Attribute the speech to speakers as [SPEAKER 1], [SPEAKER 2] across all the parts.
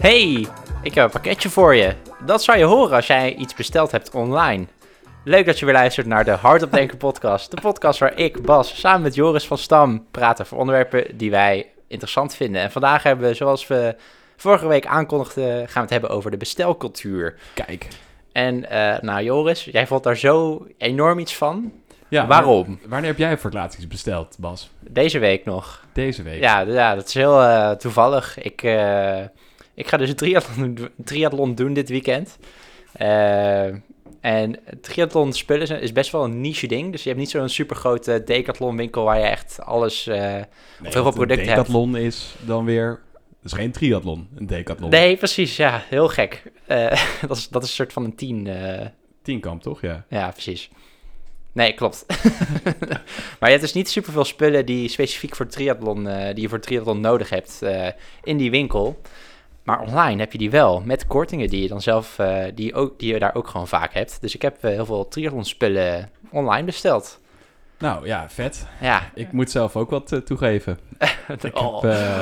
[SPEAKER 1] Hey, ik heb een pakketje voor je. Dat zou je horen als jij iets besteld hebt online. Leuk dat je weer luistert naar de Hard op Denken podcast. De podcast waar ik, Bas, samen met Joris van Stam praten over onderwerpen die wij interessant vinden. En vandaag hebben we, zoals we vorige week aankondigden, gaan we het hebben over de bestelcultuur.
[SPEAKER 2] Kijk.
[SPEAKER 1] En eh, nou Joris, jij vond daar zo enorm iets van.
[SPEAKER 2] Ja,
[SPEAKER 1] Waarom?
[SPEAKER 2] wanneer- Wanneer heb jij voor het laatst iets besteld, Bas?
[SPEAKER 1] Deze week nog.
[SPEAKER 2] Deze week.
[SPEAKER 1] Ja, d- ja dat is heel eh, toevallig. Ik, eh, ik ga dus een triathlon, do- triathlon doen dit weekend. Eh, en triathlon spullen zijn- is best wel een niche ding. Dus je hebt niet zo'n super grote decathlon winkel waar je echt alles... eh,
[SPEAKER 2] Nee,
[SPEAKER 1] veel
[SPEAKER 2] want
[SPEAKER 1] producten
[SPEAKER 2] Een decathlon is dan weer... Het is geen triathlon, een decathlon.
[SPEAKER 1] Nee, precies. Ja, heel gek. Eh, dat, is, dat is een soort van een tien. eh,
[SPEAKER 2] Tienkamp, toch? Ja.
[SPEAKER 1] ja, precies. Nee, klopt. maar je hebt dus niet superveel spullen die specifiek voor triathlon, eh, die je voor triathlon nodig hebt eh, in die winkel. Maar online heb je die wel, met kortingen die je dan zelf, eh, die, ook, die je daar ook gewoon vaak hebt. Dus ik heb eh, heel veel triathlon spullen online besteld.
[SPEAKER 2] Nou ja, vet.
[SPEAKER 1] Ja,
[SPEAKER 2] Ik moet zelf ook wat eh, toegeven. Ik
[SPEAKER 1] Oh.
[SPEAKER 2] heb, eh,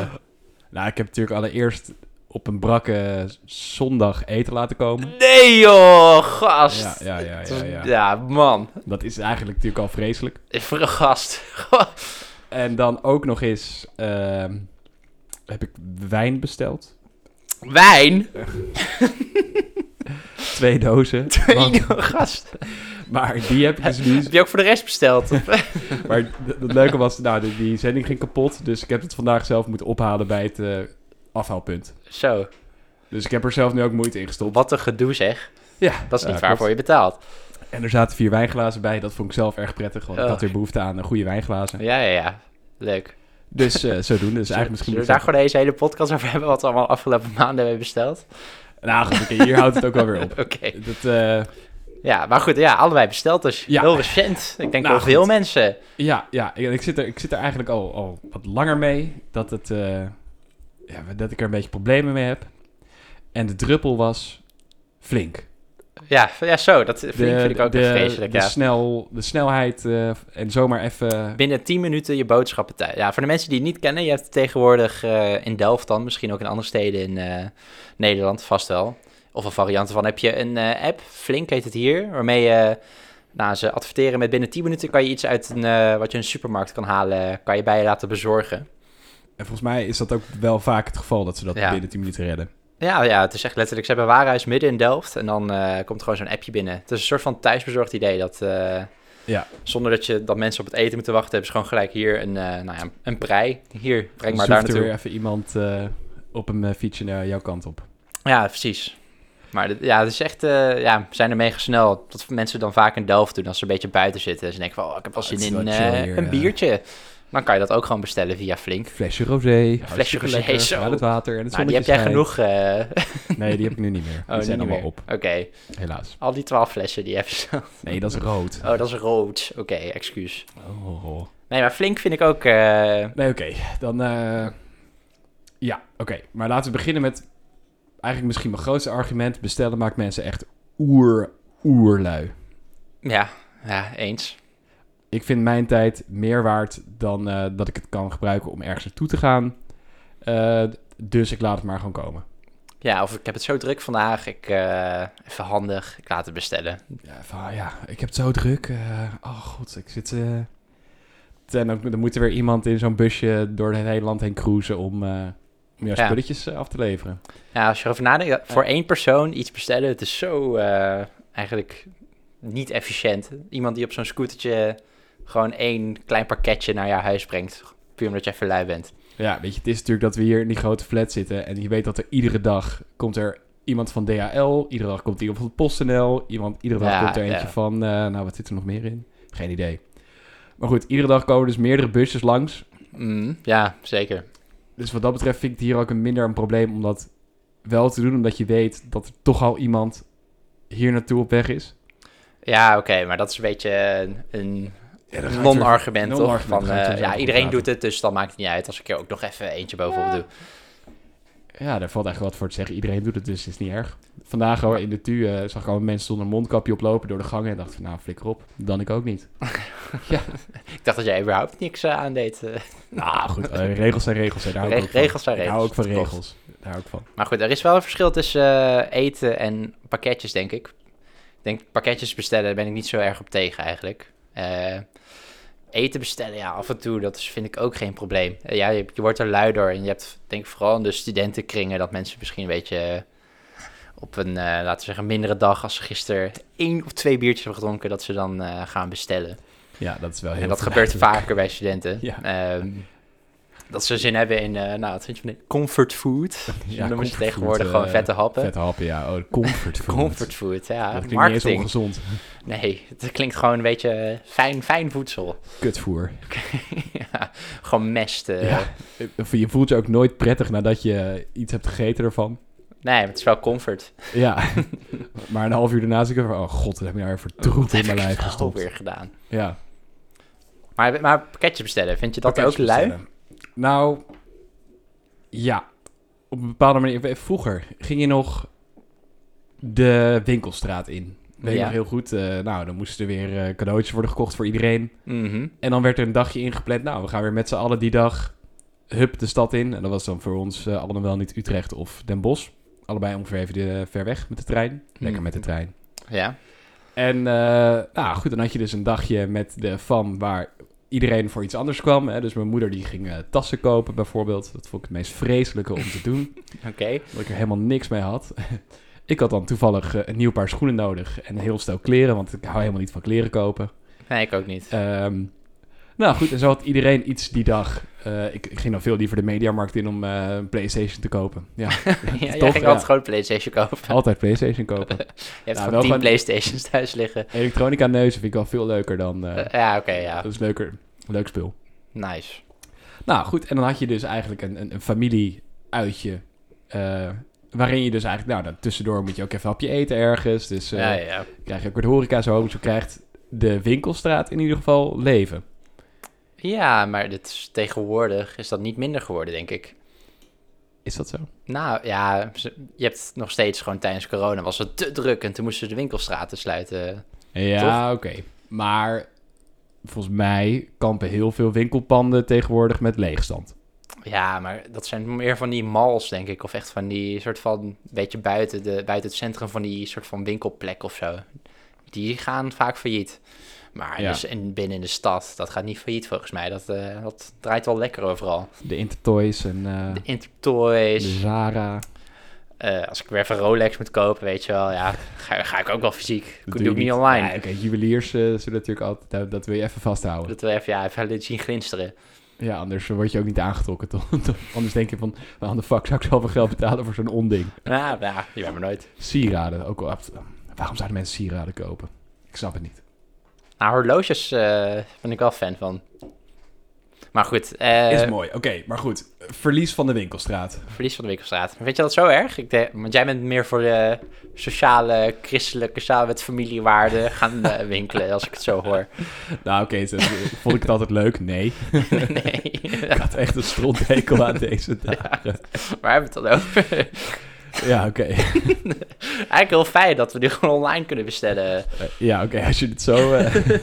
[SPEAKER 2] nou, ik heb natuurlijk allereerst op een brakke zondag eten laten komen.
[SPEAKER 1] Nee joh, gast.
[SPEAKER 2] Ja, ja, ja,
[SPEAKER 1] Het
[SPEAKER 2] ja,
[SPEAKER 1] was-
[SPEAKER 2] ja.
[SPEAKER 1] ja, man.
[SPEAKER 2] Dat is eigenlijk natuurlijk al vreselijk.
[SPEAKER 1] Voor een gast.
[SPEAKER 2] En dan ook nog eens ehm, heb ik wijn besteld.
[SPEAKER 1] Wijn?
[SPEAKER 2] Twee dozen. Want-
[SPEAKER 1] Nee, gast.
[SPEAKER 2] maar die heb ik dus nu.
[SPEAKER 1] Heb je ook voor de rest besteld? Of?
[SPEAKER 2] Maar d- het leuke was, nou, die, die zending ging kapot. Dus ik heb het vandaag zelf moeten ophalen bij het eh, afhaalpunt.
[SPEAKER 1] Zo,
[SPEAKER 2] Dus ik heb er zelf nu ook moeite in gestopt.
[SPEAKER 1] wat een gedoe zeg.
[SPEAKER 2] Ja,
[SPEAKER 1] Dat is niet
[SPEAKER 2] ja,
[SPEAKER 1] waarvoor je betaalt.
[SPEAKER 2] klopt. En er zaten vier wijnglazen bij. Dat vond ik zelf erg prettig, want ik
[SPEAKER 1] Oh.
[SPEAKER 2] had weer behoefte aan eh, goede wijnglazen.
[SPEAKER 1] Ja, ja, ja. Leuk.
[SPEAKER 2] Dus eh, zodoende. Dus eigenlijk misschien...
[SPEAKER 1] Zullen we
[SPEAKER 2] moet
[SPEAKER 1] daar
[SPEAKER 2] ik
[SPEAKER 1] gewoon deze hele podcast over hebben, wat we allemaal afgelopen maanden hebben besteld?
[SPEAKER 2] zeggen- Nou goed, oké, hier houdt het ook wel weer op.
[SPEAKER 1] Oké.
[SPEAKER 2] Dat, eh,
[SPEAKER 1] Ja, maar goed, ja, allebei besteld dus.
[SPEAKER 2] Ja.
[SPEAKER 1] Heel recent. Ik denk
[SPEAKER 2] Nou,
[SPEAKER 1] wel veel
[SPEAKER 2] goed.
[SPEAKER 1] mensen.
[SPEAKER 2] ja, ja ik, ik zit er, ik zit er eigenlijk al, al wat langer mee. Dat, het, eh, ja, dat ik er een beetje problemen mee heb. En de druppel was flink.
[SPEAKER 1] Ja, v- ja zo, dat vind, vind ik ook
[SPEAKER 2] de,
[SPEAKER 1] echt vreselijk.
[SPEAKER 2] de
[SPEAKER 1] ja.
[SPEAKER 2] snel, de snelheid eh, en zomaar even...
[SPEAKER 1] Binnen 10 minuten je boodschappen tijd. Ja, voor de mensen die het niet kennen, je hebt tegenwoordig eh, in Delft dan, misschien ook in andere steden in eh, Nederland, vast wel. Of een variant van heb je een eh, app, Flink heet het hier, waarmee je, nou ze adverteren met binnen 10 minuten kan je iets uit een, eh, wat je in een supermarkt kan halen, kan je bij je laten bezorgen.
[SPEAKER 2] En volgens mij is dat ook wel vaak het geval dat ze dat
[SPEAKER 1] Ja.
[SPEAKER 2] binnen 10 minuten redden.
[SPEAKER 1] Ja, ja, het is echt letterlijk. Ze hebben een warenhuis midden in Delft en dan eh, komt gewoon zo'n appje binnen. Het is een soort van thuisbezorgd idee dat eh,
[SPEAKER 2] Ja.
[SPEAKER 1] zonder dat, je, dat mensen op het eten moeten wachten, hebben ze gewoon gelijk hier een, eh nou ja, een prei. Hier, breng
[SPEAKER 2] Dus
[SPEAKER 1] maar
[SPEAKER 2] hoeft
[SPEAKER 1] daar
[SPEAKER 2] er
[SPEAKER 1] naartoe.
[SPEAKER 2] weer even iemand eh, op een eh, fietsje naar jouw kant op.
[SPEAKER 1] Ja, precies. Maar dit- ja, het is echt, eh, ja, we zijn er mega snel. Dat mensen dan vaak in Delft doen als ze een beetje buiten zitten. En ze denken van, oh, ik heb wel
[SPEAKER 2] Ah, het
[SPEAKER 1] zin
[SPEAKER 2] is
[SPEAKER 1] in
[SPEAKER 2] wel chill
[SPEAKER 1] eh,
[SPEAKER 2] hier,
[SPEAKER 1] een
[SPEAKER 2] ja.
[SPEAKER 1] biertje. Dan kan je dat ook gewoon bestellen via Flink.
[SPEAKER 2] Flesje rosé.
[SPEAKER 1] flesje rosé, zo.
[SPEAKER 2] Uit het water en het
[SPEAKER 1] Nou, die heb
[SPEAKER 2] zonnetje
[SPEAKER 1] jij
[SPEAKER 2] schijnt.
[SPEAKER 1] genoeg. eh
[SPEAKER 2] Nee, die heb ik nu niet meer.
[SPEAKER 1] oh,
[SPEAKER 2] die zijn
[SPEAKER 1] niet
[SPEAKER 2] allemaal
[SPEAKER 1] meer.
[SPEAKER 2] op,
[SPEAKER 1] Oké,
[SPEAKER 2] helaas.
[SPEAKER 1] al die twaalf flessen die heb je zo.
[SPEAKER 2] Nee, dat is rood.
[SPEAKER 1] Oh, dat is rood. Oké, excuus.
[SPEAKER 2] Oh, oh, oh.
[SPEAKER 1] Nee, maar Flink vind ik ook... eh,
[SPEAKER 2] Nee, oké. Dan, eh, ja, oké. Maar laten we beginnen met eigenlijk misschien mijn grootste argument. Bestellen maakt mensen echt oer, oerlui.
[SPEAKER 1] ja, ja, eens.
[SPEAKER 2] Ik vind mijn tijd meer waard dan eh, dat ik het kan gebruiken om ergens naartoe te gaan. Eh, dus ik laat het maar gewoon komen.
[SPEAKER 1] Ja, of ik heb het zo druk vandaag. Ik, eh, even handig, ik laat het bestellen.
[SPEAKER 2] Ja, van, ja, ik heb het zo druk. eh, oh god, ik zit... eh, en dan, dan moet er weer iemand in zo'n busje door het hele land heen cruisen om, eh, om jouw
[SPEAKER 1] Ja.
[SPEAKER 2] spulletjes eh, af te leveren.
[SPEAKER 1] Ja, als je erover nadenkt, ja, voor één persoon iets bestellen, het is zo eh, eigenlijk niet efficiënt. Iemand die op zo'n scootertje gewoon één klein pakketje naar jouw huis brengt, puur omdat jij verlui bent.
[SPEAKER 2] Ja, weet je, het is natuurlijk dat we hier in die grote flat zitten en je weet dat er iedere dag komt er iemand van DHL, iedere dag komt er iemand van PostNL, iemand, iedere dag
[SPEAKER 1] Ja,
[SPEAKER 2] komt er eentje
[SPEAKER 1] ja.
[SPEAKER 2] van, eh, nou wat zit er nog meer in? Geen idee. Maar goed, iedere dag komen dus meerdere busjes langs.
[SPEAKER 1] Mm, ja, zeker.
[SPEAKER 2] Dus wat dat betreft vind ik het hier ook een minder een probleem om dat wel te doen, omdat je weet dat er toch al iemand hier naartoe op weg is.
[SPEAKER 1] Ja, oké, maar dat is een beetje een- een
[SPEAKER 2] Ja, dan gaat er-
[SPEAKER 1] non-argument, toch?
[SPEAKER 2] non-argument,
[SPEAKER 1] Van,
[SPEAKER 2] daar gaan we
[SPEAKER 1] eh,
[SPEAKER 2] het zo
[SPEAKER 1] ja,
[SPEAKER 2] over
[SPEAKER 1] iedereen
[SPEAKER 2] praten.
[SPEAKER 1] doet het, dus dan maakt het niet uit als ik er ook nog even eentje bovenop doe.
[SPEAKER 2] Ja, daar valt eigenlijk wat voor te zeggen. Iedereen doet het, dus is niet erg. Vandaag hoor, in de TU eh, zag ik al mensen zonder mondkapje oplopen door de gangen. En dacht van, nou, flikker op. Dan ik ook niet.
[SPEAKER 1] Ik dacht dat jij überhaupt niks eh, aan deed. eh.
[SPEAKER 2] Nou, goed. eh, regels zijn regels. hè, Daar hou ik
[SPEAKER 1] Re-
[SPEAKER 2] ook van.
[SPEAKER 1] regels zijn
[SPEAKER 2] Ik hou ook
[SPEAKER 1] regels,
[SPEAKER 2] van
[SPEAKER 1] klopt.
[SPEAKER 2] regels. Daar hou ik van.
[SPEAKER 1] Maar goed, er is wel een verschil tussen eh, eten en pakketjes, denk ik. Ik denk pakketjes bestellen, daar ben ik niet zo erg op tegen eigenlijk. Eh, eten bestellen, ja, af en toe, dat is, vind ik ook geen probleem. Eh, ja, je, je wordt er lui door en je hebt, denk ik, vooral in de studentenkringen dat mensen misschien een beetje eh, op een, eh, laten we zeggen, mindere dag als ze gisteren één of twee biertjes hebben gedronken, dat ze dan eh, gaan bestellen.
[SPEAKER 2] Ja, dat is wel heel
[SPEAKER 1] En dat gebeurt
[SPEAKER 2] verleidelijk.
[SPEAKER 1] vaker bij studenten.
[SPEAKER 2] Ja.
[SPEAKER 1] Ehm, dat ze zin hebben in, eh, nou, wat vind je van dit? comfort food.
[SPEAKER 2] Ja,
[SPEAKER 1] Ja, noemen ze
[SPEAKER 2] comfort
[SPEAKER 1] tegenwoordig
[SPEAKER 2] food,
[SPEAKER 1] gewoon
[SPEAKER 2] eh,
[SPEAKER 1] vette happen.
[SPEAKER 2] Vette happen, ja. Oh, comfort food.
[SPEAKER 1] comfort food, ja.
[SPEAKER 2] Dat klinkt niet eens
[SPEAKER 1] Marketing.
[SPEAKER 2] ongezond.
[SPEAKER 1] Nee, het klinkt gewoon een beetje eh, fijn, fijn voedsel.
[SPEAKER 2] Kutvoer.
[SPEAKER 1] ja, gewoon mest. eh.
[SPEAKER 2] Ja. Je voelt je ook nooit prettig nadat je iets hebt gegeten ervan.
[SPEAKER 1] Nee, maar het is wel comfort.
[SPEAKER 2] Ja. maar een half uur daarna zit ik er van, oh god, dat heb ik nou weer voor troep in mijn lijf
[SPEAKER 1] Al
[SPEAKER 2] gestopt.
[SPEAKER 1] weer gedaan.
[SPEAKER 2] Ja.
[SPEAKER 1] Maar, maar pakketjes bestellen, vind je dat ook lui?
[SPEAKER 2] bestellen. Nou, ja. Op een bepaalde manier. Vroeger ging je nog de winkelstraat in. Weet ik
[SPEAKER 1] Ja.
[SPEAKER 2] nog heel goed. eh, nou, dan moesten er weer eh, cadeautjes worden gekocht voor iedereen.
[SPEAKER 1] Mhm.
[SPEAKER 2] En dan werd er een dagje ingepland. Nou, we gaan weer met z'n allen die dag hup de stad in. En dat was dan voor ons eh, allemaal wel niet Utrecht of Den Bosch. Allebei ongeveer even de, ver weg met de trein. Lekker
[SPEAKER 1] Hmm.
[SPEAKER 2] met de trein.
[SPEAKER 1] Ja.
[SPEAKER 2] En eh, nou goed, dan had je dus een dagje met de fam waar iedereen voor iets anders kwam. Hè? Dus mijn moeder die ging eh, tassen kopen bijvoorbeeld. Dat vond ik het meest vreselijke om te doen,
[SPEAKER 1] Oké.
[SPEAKER 2] omdat ik er helemaal niks mee had. ik had dan toevallig eh, een nieuw paar schoenen nodig en een heel stel kleren, want ik hou helemaal niet van kleren kopen.
[SPEAKER 1] Nee, ik ook niet.
[SPEAKER 2] Ehm, nou goed, en zo had iedereen iets die dag. Eh, ik, ik ging dan veel liever de mediamarkt in om eh, een Playstation te kopen. Ja,
[SPEAKER 1] ja, jij
[SPEAKER 2] toch,
[SPEAKER 1] ging
[SPEAKER 2] ja.
[SPEAKER 1] altijd gewoon PlayStation kopen.
[SPEAKER 2] altijd Playstation kopen.
[SPEAKER 1] Je hebt
[SPEAKER 2] wel
[SPEAKER 1] gewoon tien
[SPEAKER 2] gewoon-
[SPEAKER 1] PlayStations thuis liggen.
[SPEAKER 2] Elektronica neuzen vind ik wel veel leuker dan... eh,
[SPEAKER 1] Eh, ja, oké, ja.
[SPEAKER 2] Dat is leuker. Leuk spul.
[SPEAKER 1] Nice.
[SPEAKER 2] Nou goed, en dan had je dus eigenlijk een, een, een familieuitje. eh, waarin je dus eigenlijk, nou dan tussendoor moet je ook even een hapje eten ergens. Dus eh,
[SPEAKER 1] ja, ja.
[SPEAKER 2] krijg je ook wat horeca zo. Dus je krijgt de winkelstraat in ieder geval leven.
[SPEAKER 1] ja, maar dit is, tegenwoordig is dat niet minder geworden, denk ik.
[SPEAKER 2] Is dat zo?
[SPEAKER 1] Nou ja, ze- je hebt nog steeds gewoon tijdens corona was het te druk en toen moesten ze de winkelstraten sluiten.
[SPEAKER 2] Ja, oké. Maar volgens mij kampen heel veel winkelpanden tegenwoordig met leegstand.
[SPEAKER 1] Ja, maar dat zijn meer van die malls, denk ik. Of echt van die soort van, beetje buiten, de, buiten het centrum van die soort van winkelplek of zo. Die gaan vaak failliet. Maar
[SPEAKER 2] Ja.
[SPEAKER 1] dus in, binnen de stad, dat gaat niet failliet volgens mij. Dat, eh, dat draait wel lekker overal.
[SPEAKER 2] De Intertoys en eh,
[SPEAKER 1] De
[SPEAKER 2] de
[SPEAKER 1] Intertoys,
[SPEAKER 2] Zara.
[SPEAKER 1] eh, als ik weer even Rolex moet kopen, weet je wel. Ja, ga, ga ik ook wel fysiek.
[SPEAKER 2] Dat
[SPEAKER 1] Dat doe ik
[SPEAKER 2] je
[SPEAKER 1] niet online.
[SPEAKER 2] Ja, oké, juweliers eh, zullen natuurlijk altijd, dat, dat wil je even vasthouden.
[SPEAKER 1] Dat wil even, ja, even zien glinsteren.
[SPEAKER 2] Ja, anders word je ook niet aangetrokken, toch? anders denk je van, waarom de fuck zou ik zoveel geld betalen voor zo'n onding?
[SPEAKER 1] Ja, ja, je weet maar nooit.
[SPEAKER 2] Sieraden, ook al... Waarom zouden mensen sieraden kopen? Ik snap het niet.
[SPEAKER 1] Nou, horloges eh ben ik wel fan van. Maar goed, eh,
[SPEAKER 2] Is mooi, oké, maar goed. Verlies van de winkelstraat.
[SPEAKER 1] verlies van de winkelstraat. Vind je dat zo erg? Ik denk, want jij bent meer voor de sociale, christelijke, samen met familiewaarden gaan eh, winkelen, als ik het zo hoor.
[SPEAKER 2] Nou, oké, zo- vond ik het altijd leuk? Nee.
[SPEAKER 1] nee,
[SPEAKER 2] Ik had echt een strontdekel aan deze dagen.
[SPEAKER 1] waar hebben we het dan over?
[SPEAKER 2] Ja, oké.
[SPEAKER 1] Eigenlijk heel fijn dat we nu gewoon online kunnen bestellen.
[SPEAKER 2] Ja, oké, als je dit zo... eh,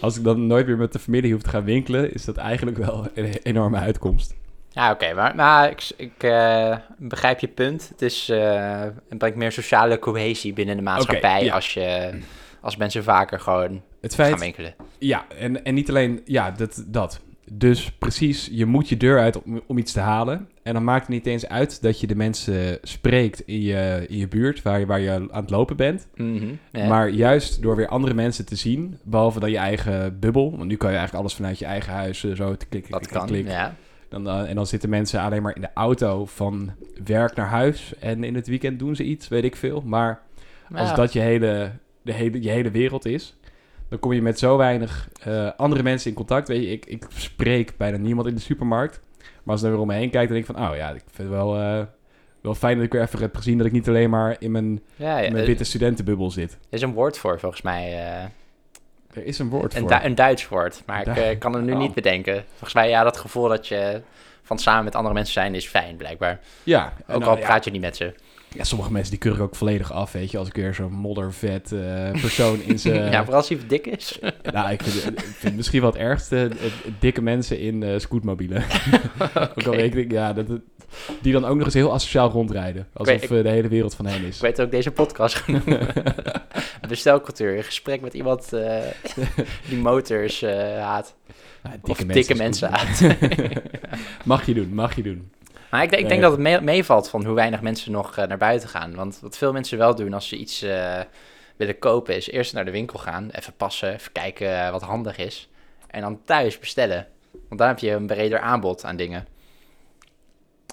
[SPEAKER 2] als ik dan nooit meer met de familie hoef te gaan winkelen, is dat eigenlijk wel een enorme uitkomst.
[SPEAKER 1] Ja, oké, maar, maar ik, ik eh, begrijp je punt. Het, is, eh, het brengt meer sociale cohesie binnen de maatschappij
[SPEAKER 2] ja.
[SPEAKER 1] als, je, als mensen vaker gewoon
[SPEAKER 2] Het
[SPEAKER 1] gaan
[SPEAKER 2] feit
[SPEAKER 1] winkelen.
[SPEAKER 2] Ja, en, en niet alleen ja, dat, dat. Dus precies, je moet je deur uit om, om iets te halen. En dan maakt het niet eens uit dat je de mensen spreekt in je, in je buurt waar je, waar je aan het lopen bent.
[SPEAKER 1] Mhm, ja.
[SPEAKER 2] Maar juist door weer andere mensen te zien, behalve dan je eigen bubbel. Want nu kan je eigenlijk alles vanuit je eigen huis eh, zo te klikken.
[SPEAKER 1] dat kan, ja.
[SPEAKER 2] Dan, eh, en dan zitten mensen alleen maar in de auto van werk naar huis. En in het weekend doen ze iets, weet ik veel. Maar als
[SPEAKER 1] Ja.
[SPEAKER 2] dat je hele, de hele, je hele wereld is, dan kom je met zo weinig eh, andere mensen in contact. Weet je, ik, ik spreek bijna niemand in de supermarkt. Maar als ik dan weer om me heen kijk, dan denk ik van, oh ja, ik vind het wel, eh, wel fijn dat ik weer even heb gezien dat ik niet alleen maar in mijn,
[SPEAKER 1] Ja, eh, ja,
[SPEAKER 2] in mijn
[SPEAKER 1] er
[SPEAKER 2] witte studentenbubbel zit.
[SPEAKER 1] is een woord voor volgens mij. eh,
[SPEAKER 2] Er is een woord
[SPEAKER 1] Een,
[SPEAKER 2] voor.
[SPEAKER 1] Du- een Duits woord, maar ik
[SPEAKER 2] Du-
[SPEAKER 1] eh, kan het nu
[SPEAKER 2] Oh.
[SPEAKER 1] niet bedenken. Volgens mij, ja, dat gevoel dat je van samen met andere mensen zijn is fijn, blijkbaar.
[SPEAKER 2] ja, en
[SPEAKER 1] Ook
[SPEAKER 2] nou,
[SPEAKER 1] al
[SPEAKER 2] ja,
[SPEAKER 1] praat je niet met ze.
[SPEAKER 2] ja, sommige mensen die keuren ook volledig af, weet je. Als ik weer zo'n moddervet eh, persoon in zijn...
[SPEAKER 1] ja, vooral als hij dik is.
[SPEAKER 2] Nou, ik vind, ik vind misschien wel het ergste eh, dikke mensen in eh, scootmobielen. Ook al weet ik, ja, dat, dat- die dan ook nog eens heel asociaal rondrijden. Alsof
[SPEAKER 1] weet-
[SPEAKER 2] eh, de hele wereld van hen is.
[SPEAKER 1] Ik weet ook deze podcast genoemd. Bestelcultuur, een gesprek met iemand eh, die motors eh, haat.
[SPEAKER 2] Ah,
[SPEAKER 1] of dikke mensen
[SPEAKER 2] scootmobielen.
[SPEAKER 1] haat.
[SPEAKER 2] mag je doen, mag je doen.
[SPEAKER 1] Maar ik, denk- ik denk dat
[SPEAKER 2] Nee.
[SPEAKER 1] het mee- meevalt van hoe weinig mensen nog eh, naar buiten gaan. Want wat veel mensen wel doen als ze iets eh, willen kopen, is eerst naar de winkel gaan. Even passen, even kijken eh, wat handig is. En dan thuis bestellen. Want dan heb je een breder aanbod aan dingen.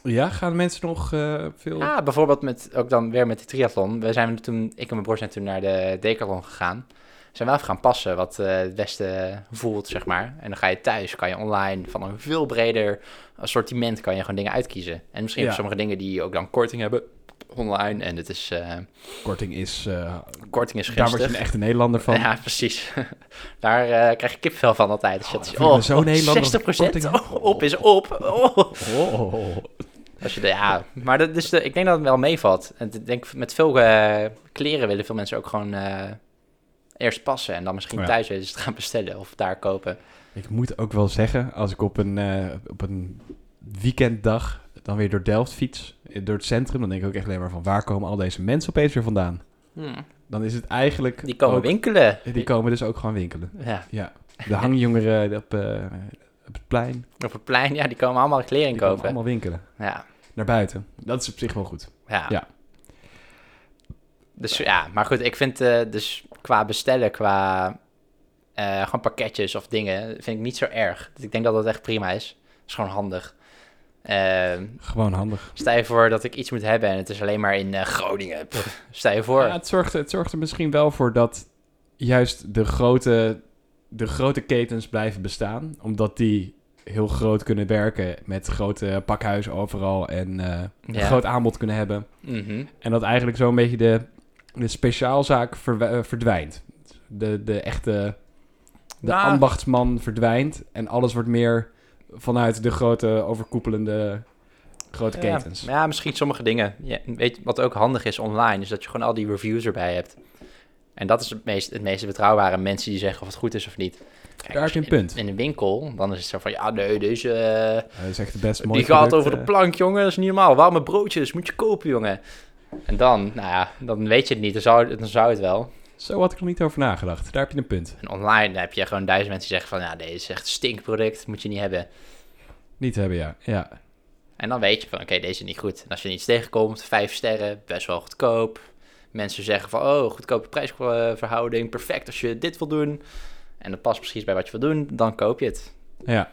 [SPEAKER 2] Ja, gaan mensen nog eh, veel...
[SPEAKER 1] Ja, Ah, bijvoorbeeld met, ook dan weer met die triathlon. We zijn toen, ik en mijn broer zijn toen naar de decathlon gegaan. Zijn wel even gaan passen wat eh, het beste voelt, zeg maar. En dan ga je thuis, kan je online van een veel breder assortiment kan je gewoon dingen uitkiezen. En misschien
[SPEAKER 2] Ja.
[SPEAKER 1] voor sommige dingen die ook dan korting hebben online. En het is, eh,
[SPEAKER 2] Korting is... eh,
[SPEAKER 1] korting is
[SPEAKER 2] daar word je
[SPEAKER 1] gunstig.
[SPEAKER 2] een echte Nederlander van.
[SPEAKER 1] Ja, precies. Daar eh, krijg je kipvel van altijd. Als je
[SPEAKER 2] Oh,
[SPEAKER 1] dat
[SPEAKER 2] dat
[SPEAKER 1] ziet.
[SPEAKER 2] vind ik
[SPEAKER 1] oh,
[SPEAKER 2] me zo'n Nederlander als ik
[SPEAKER 1] 60%
[SPEAKER 2] korting heb.
[SPEAKER 1] op is op. Oh.
[SPEAKER 2] Oh.
[SPEAKER 1] Als je de, ja, maar dat, dus de, ik denk dat het wel meevalt. En ik denk met veel eh, kleren willen veel mensen ook gewoon eh, eerst passen en dan misschien
[SPEAKER 2] Oh Ja.
[SPEAKER 1] thuis eens het gaan bestellen of daar kopen.
[SPEAKER 2] Ik moet ook wel zeggen, als ik op een, eh, op een weekenddag dan weer door Delft fiets, eh, door het centrum, dan denk ik ook echt alleen maar van waar komen al deze mensen opeens weer vandaan? Dan is het eigenlijk...
[SPEAKER 1] Die komen
[SPEAKER 2] ook-
[SPEAKER 1] winkelen.
[SPEAKER 2] Die komen dus ook gewoon winkelen.
[SPEAKER 1] Ja,
[SPEAKER 2] Ja. De hangjongeren op, eh, op het plein, die
[SPEAKER 1] op het plein, ja, die komen allemaal kleren
[SPEAKER 2] komen
[SPEAKER 1] kopen.
[SPEAKER 2] allemaal winkelen.
[SPEAKER 1] Ja,
[SPEAKER 2] Naar buiten. Dat is op zich wel goed.
[SPEAKER 1] ja.
[SPEAKER 2] Ja.
[SPEAKER 1] Dus ja, maar goed, ik vind eh, dus qua bestellen, qua eh, gewoon pakketjes of dingen, vind ik niet zo erg. Dus Ik denk dat dat echt prima is. Dat is gewoon handig. Ehm,
[SPEAKER 2] Gewoon handig.
[SPEAKER 1] Stel je voor dat ik iets moet hebben en het is alleen maar in eh, Groningen. Pff, stel je voor.
[SPEAKER 2] Ja, het, zorgt, het zorgt er misschien wel voor dat juist de grote, de grote ketens blijven bestaan. Omdat die heel groot kunnen werken met grote pakhuizen overal en eh, een
[SPEAKER 1] Ja.
[SPEAKER 2] groot aanbod kunnen hebben.
[SPEAKER 1] Mhm.
[SPEAKER 2] En dat eigenlijk zo'n beetje de, de speciaalzaak verwe- eh, verdwijnt. De, de echte de
[SPEAKER 1] Nou.
[SPEAKER 2] ambachtsman verdwijnt. En alles wordt meer vanuit de grote overkoepelende grote
[SPEAKER 1] Ja.
[SPEAKER 2] ketens.
[SPEAKER 1] Maar ja, misschien sommige dingen. Ja, weet, je, wat ook handig is online, is dat je gewoon al die reviews erbij hebt. En dat is het meest, het meest betrouwbare. Mensen die zeggen of het goed is of niet. Kijk,
[SPEAKER 2] Daar
[SPEAKER 1] als
[SPEAKER 2] heb je
[SPEAKER 1] in-
[SPEAKER 2] een punt.
[SPEAKER 1] In een winkel, dan is het zo van, ja nee, deze eh,
[SPEAKER 2] Eh, dat is echt de best mooie eh.
[SPEAKER 1] die gaat over de plank, jongen. Dat is niet normaal. Warme broodjes, moet je kopen, jongen. En dan, nou ja, dan weet je het niet. Dan zou, dan zou het wel.
[SPEAKER 2] Zo had ik nog niet over nagedacht. Daar heb je een punt.
[SPEAKER 1] En online heb je gewoon duizend mensen die zeggen van, ja, deze is echt een stinkproduct, moet je niet hebben.
[SPEAKER 2] Niet hebben, ja. ja.
[SPEAKER 1] En dan weet je van, oké, deze is niet goed. En als je iets tegenkomt, vijf sterren, best wel goedkoop. Mensen zeggen van, oh, goedkope prijsverhouding, perfect als je dit wil doen. En dat past precies bij wat je wil doen, dan koop je het.
[SPEAKER 2] ja.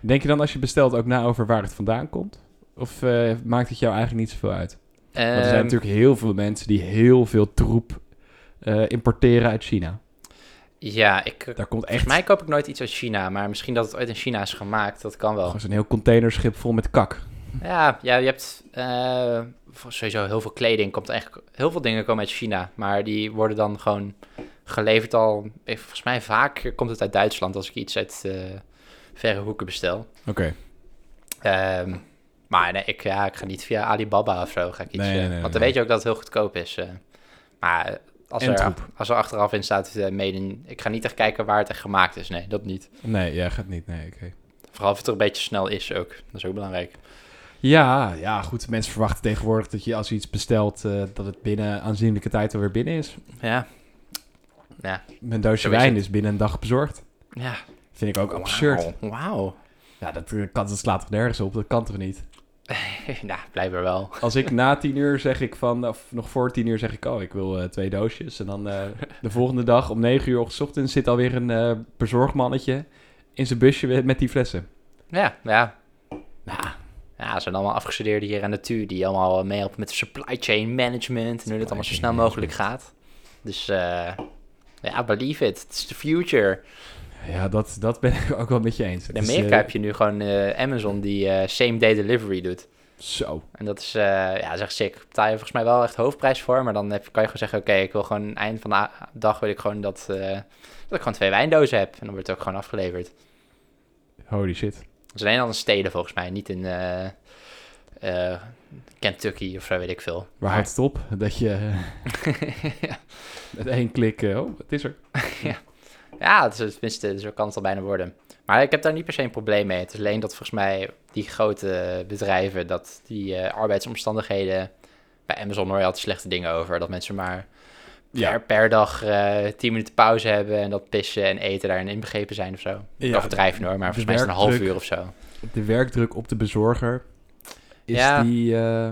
[SPEAKER 2] Denk je dan als je bestelt ook na over waar het vandaan komt? Of eh, maakt het jou eigenlijk niet zoveel uit? Want er zijn
[SPEAKER 1] Ehm,
[SPEAKER 2] natuurlijk heel veel mensen die heel veel troep eh, importeren uit China.
[SPEAKER 1] Ja, ik, volgens
[SPEAKER 2] Daar komt echt
[SPEAKER 1] mij koop ik nooit iets uit China, maar misschien dat het ooit in China is gemaakt, dat kan wel.
[SPEAKER 2] Gewoon zo'n heel containerschip vol met kak.
[SPEAKER 1] Ja, ja, je hebt eh, sowieso heel veel kleding, komt eigenlijk, heel veel dingen komen uit China, maar die worden dan gewoon geleverd al, eh, volgens mij vaak komt het uit Duitsland als ik iets uit eh, verre hoeken bestel.
[SPEAKER 2] Oké.
[SPEAKER 1] Ehm, maar nee, ik, ja, ik ga niet via Alibaba of zo. Ga ik iets,
[SPEAKER 2] Nee,
[SPEAKER 1] eh,
[SPEAKER 2] nee, nee,
[SPEAKER 1] want dan
[SPEAKER 2] nee.
[SPEAKER 1] weet je ook dat het heel goedkoop is. eh. maar eh, als
[SPEAKER 2] En
[SPEAKER 1] er,
[SPEAKER 2] troep.
[SPEAKER 1] als er achteraf in staat eh, made in... Ik ga niet echt kijken waar het echt gemaakt is. Nee, dat niet.
[SPEAKER 2] Nee, jij gaat niet. Nee, oké.
[SPEAKER 1] Vooral of het er een beetje snel is ook. Dat is ook belangrijk.
[SPEAKER 2] Ja, ja, goed. Mensen verwachten tegenwoordig dat je als je iets bestelt, eh, dat het binnen aanzienlijke tijd alweer binnen is.
[SPEAKER 1] Ja. Ja.
[SPEAKER 2] Mijn doosje
[SPEAKER 1] Zo is
[SPEAKER 2] wijn
[SPEAKER 1] het.
[SPEAKER 2] is binnen een dag bezorgd.
[SPEAKER 1] Ja.
[SPEAKER 2] Vind ik ook absurd.
[SPEAKER 1] Wauw. Wauw.
[SPEAKER 2] Ja, dat, eh, kan, dat slaat toch nergens op? Dat kan toch niet?
[SPEAKER 1] nou, blijkbaar wel.
[SPEAKER 2] Als ik na tien uur zeg ik van, of nog voor tien uur zeg ik, oh, ik wil eh, twee doosjes. En dan eh, de volgende dag om negen uur ochtend zit alweer een eh, bezorgmannetje in zijn busje met- met die flessen.
[SPEAKER 1] Ja, ja. Ja, ze zijn allemaal afgestudeerden hier aan de TU... die allemaal eh, meehelpen met supply chain management... en hoe dit allemaal zo
[SPEAKER 2] chain
[SPEAKER 1] snel mogelijk gaat. Dus eh, ja, believe it. It's the future.
[SPEAKER 2] Ja, dat, dat ben ik ook wel met je eens. Het
[SPEAKER 1] In
[SPEAKER 2] is,
[SPEAKER 1] Amerika
[SPEAKER 2] eh,
[SPEAKER 1] heb je nu gewoon eh, Amazon die eh, same-day delivery doet.
[SPEAKER 2] Zo.
[SPEAKER 1] En dat is, eh, ja, dat is echt sick. Betaal je volgens mij wel echt hoofdprijs voor, maar dan heb, kan je gewoon zeggen, oké, ik wil gewoon eind van de a- dag wil ik gewoon dat, eh, dat ik gewoon twee wijndozen heb. En dan wordt het ook gewoon afgeleverd.
[SPEAKER 2] Holy shit.
[SPEAKER 1] Dat is alleen al in steden volgens mij, niet in eh, eh, Kentucky of zo, weet ik veel.
[SPEAKER 2] Waar houdt het op dat je eh, met één klik, eh, oh, het is er.
[SPEAKER 1] Ja, het is, tenminste, zo kan het al bijna worden. Maar ik heb daar niet per se een probleem mee. Het is alleen dat volgens mij die grote bedrijven, dat die eh, arbeidsomstandigheden... Bij Amazon hoor je altijd slechte dingen over. Dat mensen maar
[SPEAKER 2] Ja.
[SPEAKER 1] per, per dag eh 10 minuten pauze hebben en dat pissen en eten daarin inbegrepen zijn of zo.
[SPEAKER 2] Ja,
[SPEAKER 1] Ik overdrijf nu hoor, maar
[SPEAKER 2] de
[SPEAKER 1] volgens mij is het een half
[SPEAKER 2] werkdruk.
[SPEAKER 1] uur of zo.
[SPEAKER 2] De werkdruk op de bezorger is
[SPEAKER 1] Ja.
[SPEAKER 2] die... eh,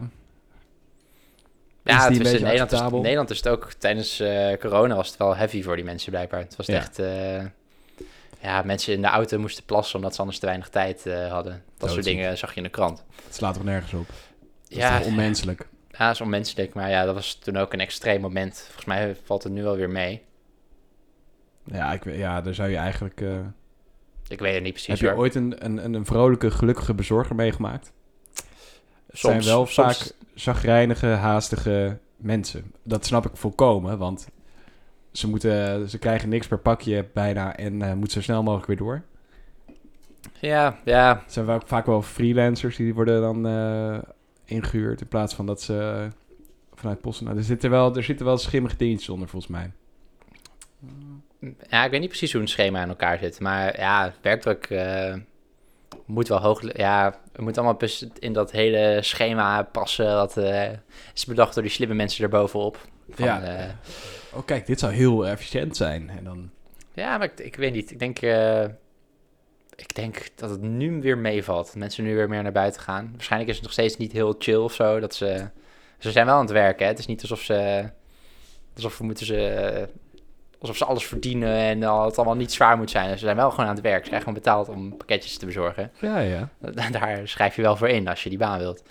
[SPEAKER 1] Ja,
[SPEAKER 2] die
[SPEAKER 1] tenminste,
[SPEAKER 2] een beetje
[SPEAKER 1] in Nederland is, het-
[SPEAKER 2] acceptabel?
[SPEAKER 1] in Nederland is het ook tijdens eh, corona was het wel heavy voor die mensen blijkbaar. Het was
[SPEAKER 2] Ja.
[SPEAKER 1] echt... eh, ja, mensen in de auto moesten plassen omdat ze anders te weinig tijd eh, hadden. Dat soort
[SPEAKER 2] Doodziek.
[SPEAKER 1] dingen zag je in de krant.
[SPEAKER 2] het slaat toch nergens op? Dat
[SPEAKER 1] Ja,
[SPEAKER 2] is toch onmenselijk?
[SPEAKER 1] ja, dat is onmenselijk, maar ja, dat was toen ook een extreem moment. Volgens mij valt het nu alweer mee.
[SPEAKER 2] Ja, ik, weet- ja, daar zou je eigenlijk... eh,
[SPEAKER 1] Ik weet het niet precies
[SPEAKER 2] heb je
[SPEAKER 1] hoor.
[SPEAKER 2] ooit een, een, een, een vrolijke, gelukkige bezorger meegemaakt? Het zijn
[SPEAKER 1] Soms-
[SPEAKER 2] wel
[SPEAKER 1] soms-
[SPEAKER 2] vaak zagrijnige, haastige mensen. Dat snap ik volkomen, want ze, moeten, ze krijgen niks per pakje bijna en eh, moeten zo snel mogelijk weer door.
[SPEAKER 1] Ja, ja,
[SPEAKER 2] Het zijn wel- vaak wel freelancers die worden dan eh, ingehuurd in plaats van dat ze eh, vanuit posten... Nou, er zitten wel, er zitten wel schimmige dingetjes onder volgens mij.
[SPEAKER 1] Ja, ik weet niet precies hoe een schema aan elkaar zit. Maar ja, werkdruk eh, moet wel hoog... Ja, het moet allemaal best in dat hele schema passen. Dat eh, is bedacht door die slimme mensen erbovenop. Van,
[SPEAKER 2] Ja.
[SPEAKER 1] eh,
[SPEAKER 2] Oh kijk, dit zou heel efficiënt zijn. En dan,
[SPEAKER 1] ja, maar ik, ik weet niet. Ik denk, eh, ik denk dat het nu weer meevalt. Dat mensen nu weer meer naar buiten gaan. Waarschijnlijk is het nog steeds niet heel chill of zo. Dat ze, ze zijn wel aan het werken. Hè? Het is niet alsof ze... Alsof we moeten ze... Alsof ze alles verdienen en al- het allemaal niet zwaar moet zijn. Ze zijn wel gewoon aan het werk. Ze krijgen gewoon betaald om pakketjes te bezorgen.
[SPEAKER 2] ja, ja.
[SPEAKER 1] Daar schrijf je wel voor in als je die baan wilt.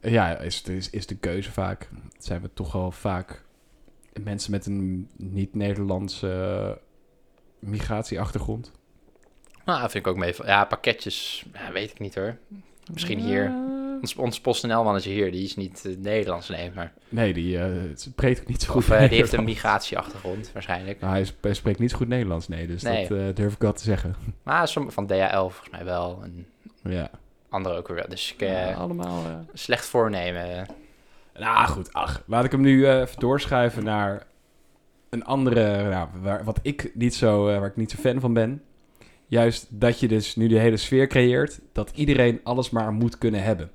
[SPEAKER 2] Ja, is, is, is de keuze vaak. Zijn we toch wel vaak mensen met een niet-Nederlandse eh, migratieachtergrond?
[SPEAKER 1] Nou, dat vind ik ook meeval. Ja, pakketjes, ja, weet ik niet hoor. Misschien hier. Ons, ons PostNL-manager hier, die is niet eh, Nederlands, nee, maar...
[SPEAKER 2] Nee, die eh, het spreekt ook niet zo goed
[SPEAKER 1] Of eh, die heeft een
[SPEAKER 2] Nederlands.
[SPEAKER 1] migratieachtergrond waarschijnlijk.
[SPEAKER 2] Nou, hij, sp- hij spreekt niet zo goed Nederlands, nee. Dus
[SPEAKER 1] Nee.
[SPEAKER 2] dat eh, durf ik wel te zeggen.
[SPEAKER 1] Maar sommige van DHL volgens mij wel. En
[SPEAKER 2] ja.
[SPEAKER 1] anderen ook weer wel. Dus ik, eh,
[SPEAKER 2] Ja, allemaal... eh.
[SPEAKER 1] slecht voornemen.
[SPEAKER 2] Nou goed, ach. Laat ik hem nu eh, even doorschuiven naar een andere, nou, waar, wat ik niet zo, eh, waar ik niet zo fan van ben. Juist dat je dus nu de hele sfeer creëert dat iedereen alles maar moet kunnen hebben.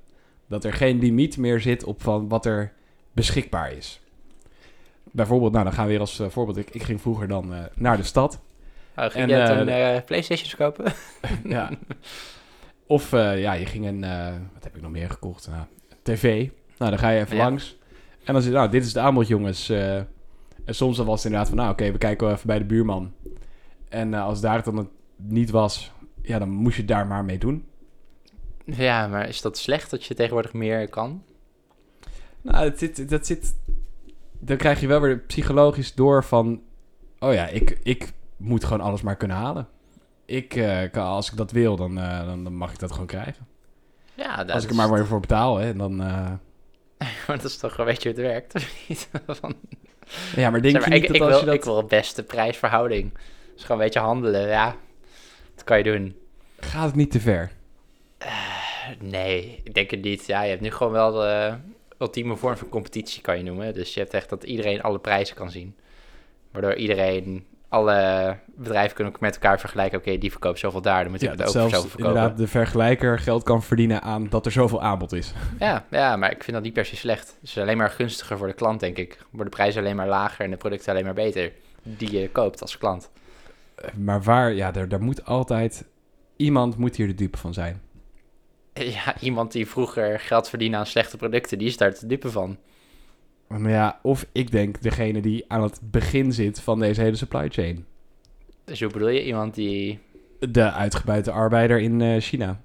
[SPEAKER 2] Dat er geen limiet meer zit op van wat er beschikbaar is. Bijvoorbeeld, nou dan gaan we weer als eh, voorbeeld. Ik, ik ging vroeger dan eh, naar de stad.
[SPEAKER 1] Oh, ging
[SPEAKER 2] En,
[SPEAKER 1] je
[SPEAKER 2] eh,
[SPEAKER 1] toen eh, Playstations kopen?
[SPEAKER 2] Ja. Of eh, ja, je ging een. eh, wat heb ik nog meer gekocht? Nou, TV. Nou, dan ga je even
[SPEAKER 1] Ja.
[SPEAKER 2] langs. En dan zit, nou, dit is het aanbod, jongens. eh. en soms dan was het inderdaad van, nou, oké, we kijken wel even bij de buurman. En eh, als daar het dan het niet was, ja, dan moest je daar maar mee doen.
[SPEAKER 1] ja, maar is dat slecht dat je tegenwoordig meer kan?
[SPEAKER 2] Nou, dat zit, dat zit. Dan krijg je wel weer psychologisch door van. Oh ja, ik, ik moet gewoon alles maar kunnen halen. Ik, eh, kan, als ik dat wil, dan, eh, dan, dan mag ik dat gewoon krijgen.
[SPEAKER 1] Ja, dat,
[SPEAKER 2] als ik er
[SPEAKER 1] is,
[SPEAKER 2] maar weer voor betaal, hè, dan. eh,
[SPEAKER 1] maar dat is toch een beetje hoe het werkt, of niet? Van,
[SPEAKER 2] Ja, maar denk
[SPEAKER 1] zeg
[SPEAKER 2] je
[SPEAKER 1] maar,
[SPEAKER 2] niet
[SPEAKER 1] ik,
[SPEAKER 2] dat
[SPEAKER 1] ik
[SPEAKER 2] als
[SPEAKER 1] wil,
[SPEAKER 2] je dat...
[SPEAKER 1] ik wil het beste prijsverhouding. Dus gewoon een beetje handelen, ja. Dat kan je doen.
[SPEAKER 2] Gaat het niet te ver?
[SPEAKER 1] Nee, ik denk het niet. Ja, je hebt nu gewoon wel de ultieme vorm van competitie, kan je noemen. Dus je hebt echt dat iedereen alle prijzen kan zien. Waardoor iedereen, alle bedrijven kunnen ook met elkaar vergelijken. Oké, die verkoopt zoveel daar, dan moet ik
[SPEAKER 2] Ja,
[SPEAKER 1] het
[SPEAKER 2] dat
[SPEAKER 1] ook voor
[SPEAKER 2] zelfs
[SPEAKER 1] zoveel verkopen.
[SPEAKER 2] inderdaad de vergelijker geld kan verdienen aan dat er zoveel aanbod is.
[SPEAKER 1] Ja, ja, maar ik vind dat niet per se slecht. Het is alleen maar gunstiger voor de klant, denk ik. Worden de prijzen alleen maar lager en de producten alleen maar beter. Die je koopt als klant.
[SPEAKER 2] Eh, Maar waar, ja, daar, daar moet altijd... Iemand moet hier de dupe van zijn.
[SPEAKER 1] Ja, iemand die vroeger geld verdiende aan slechte producten, die is daar te dupe van.
[SPEAKER 2] Maar ja, of ik denk degene die aan het begin zit van deze hele supply chain.
[SPEAKER 1] Dus hoe bedoel je? Iemand die...
[SPEAKER 2] De uitgebuite arbeider in eh, China,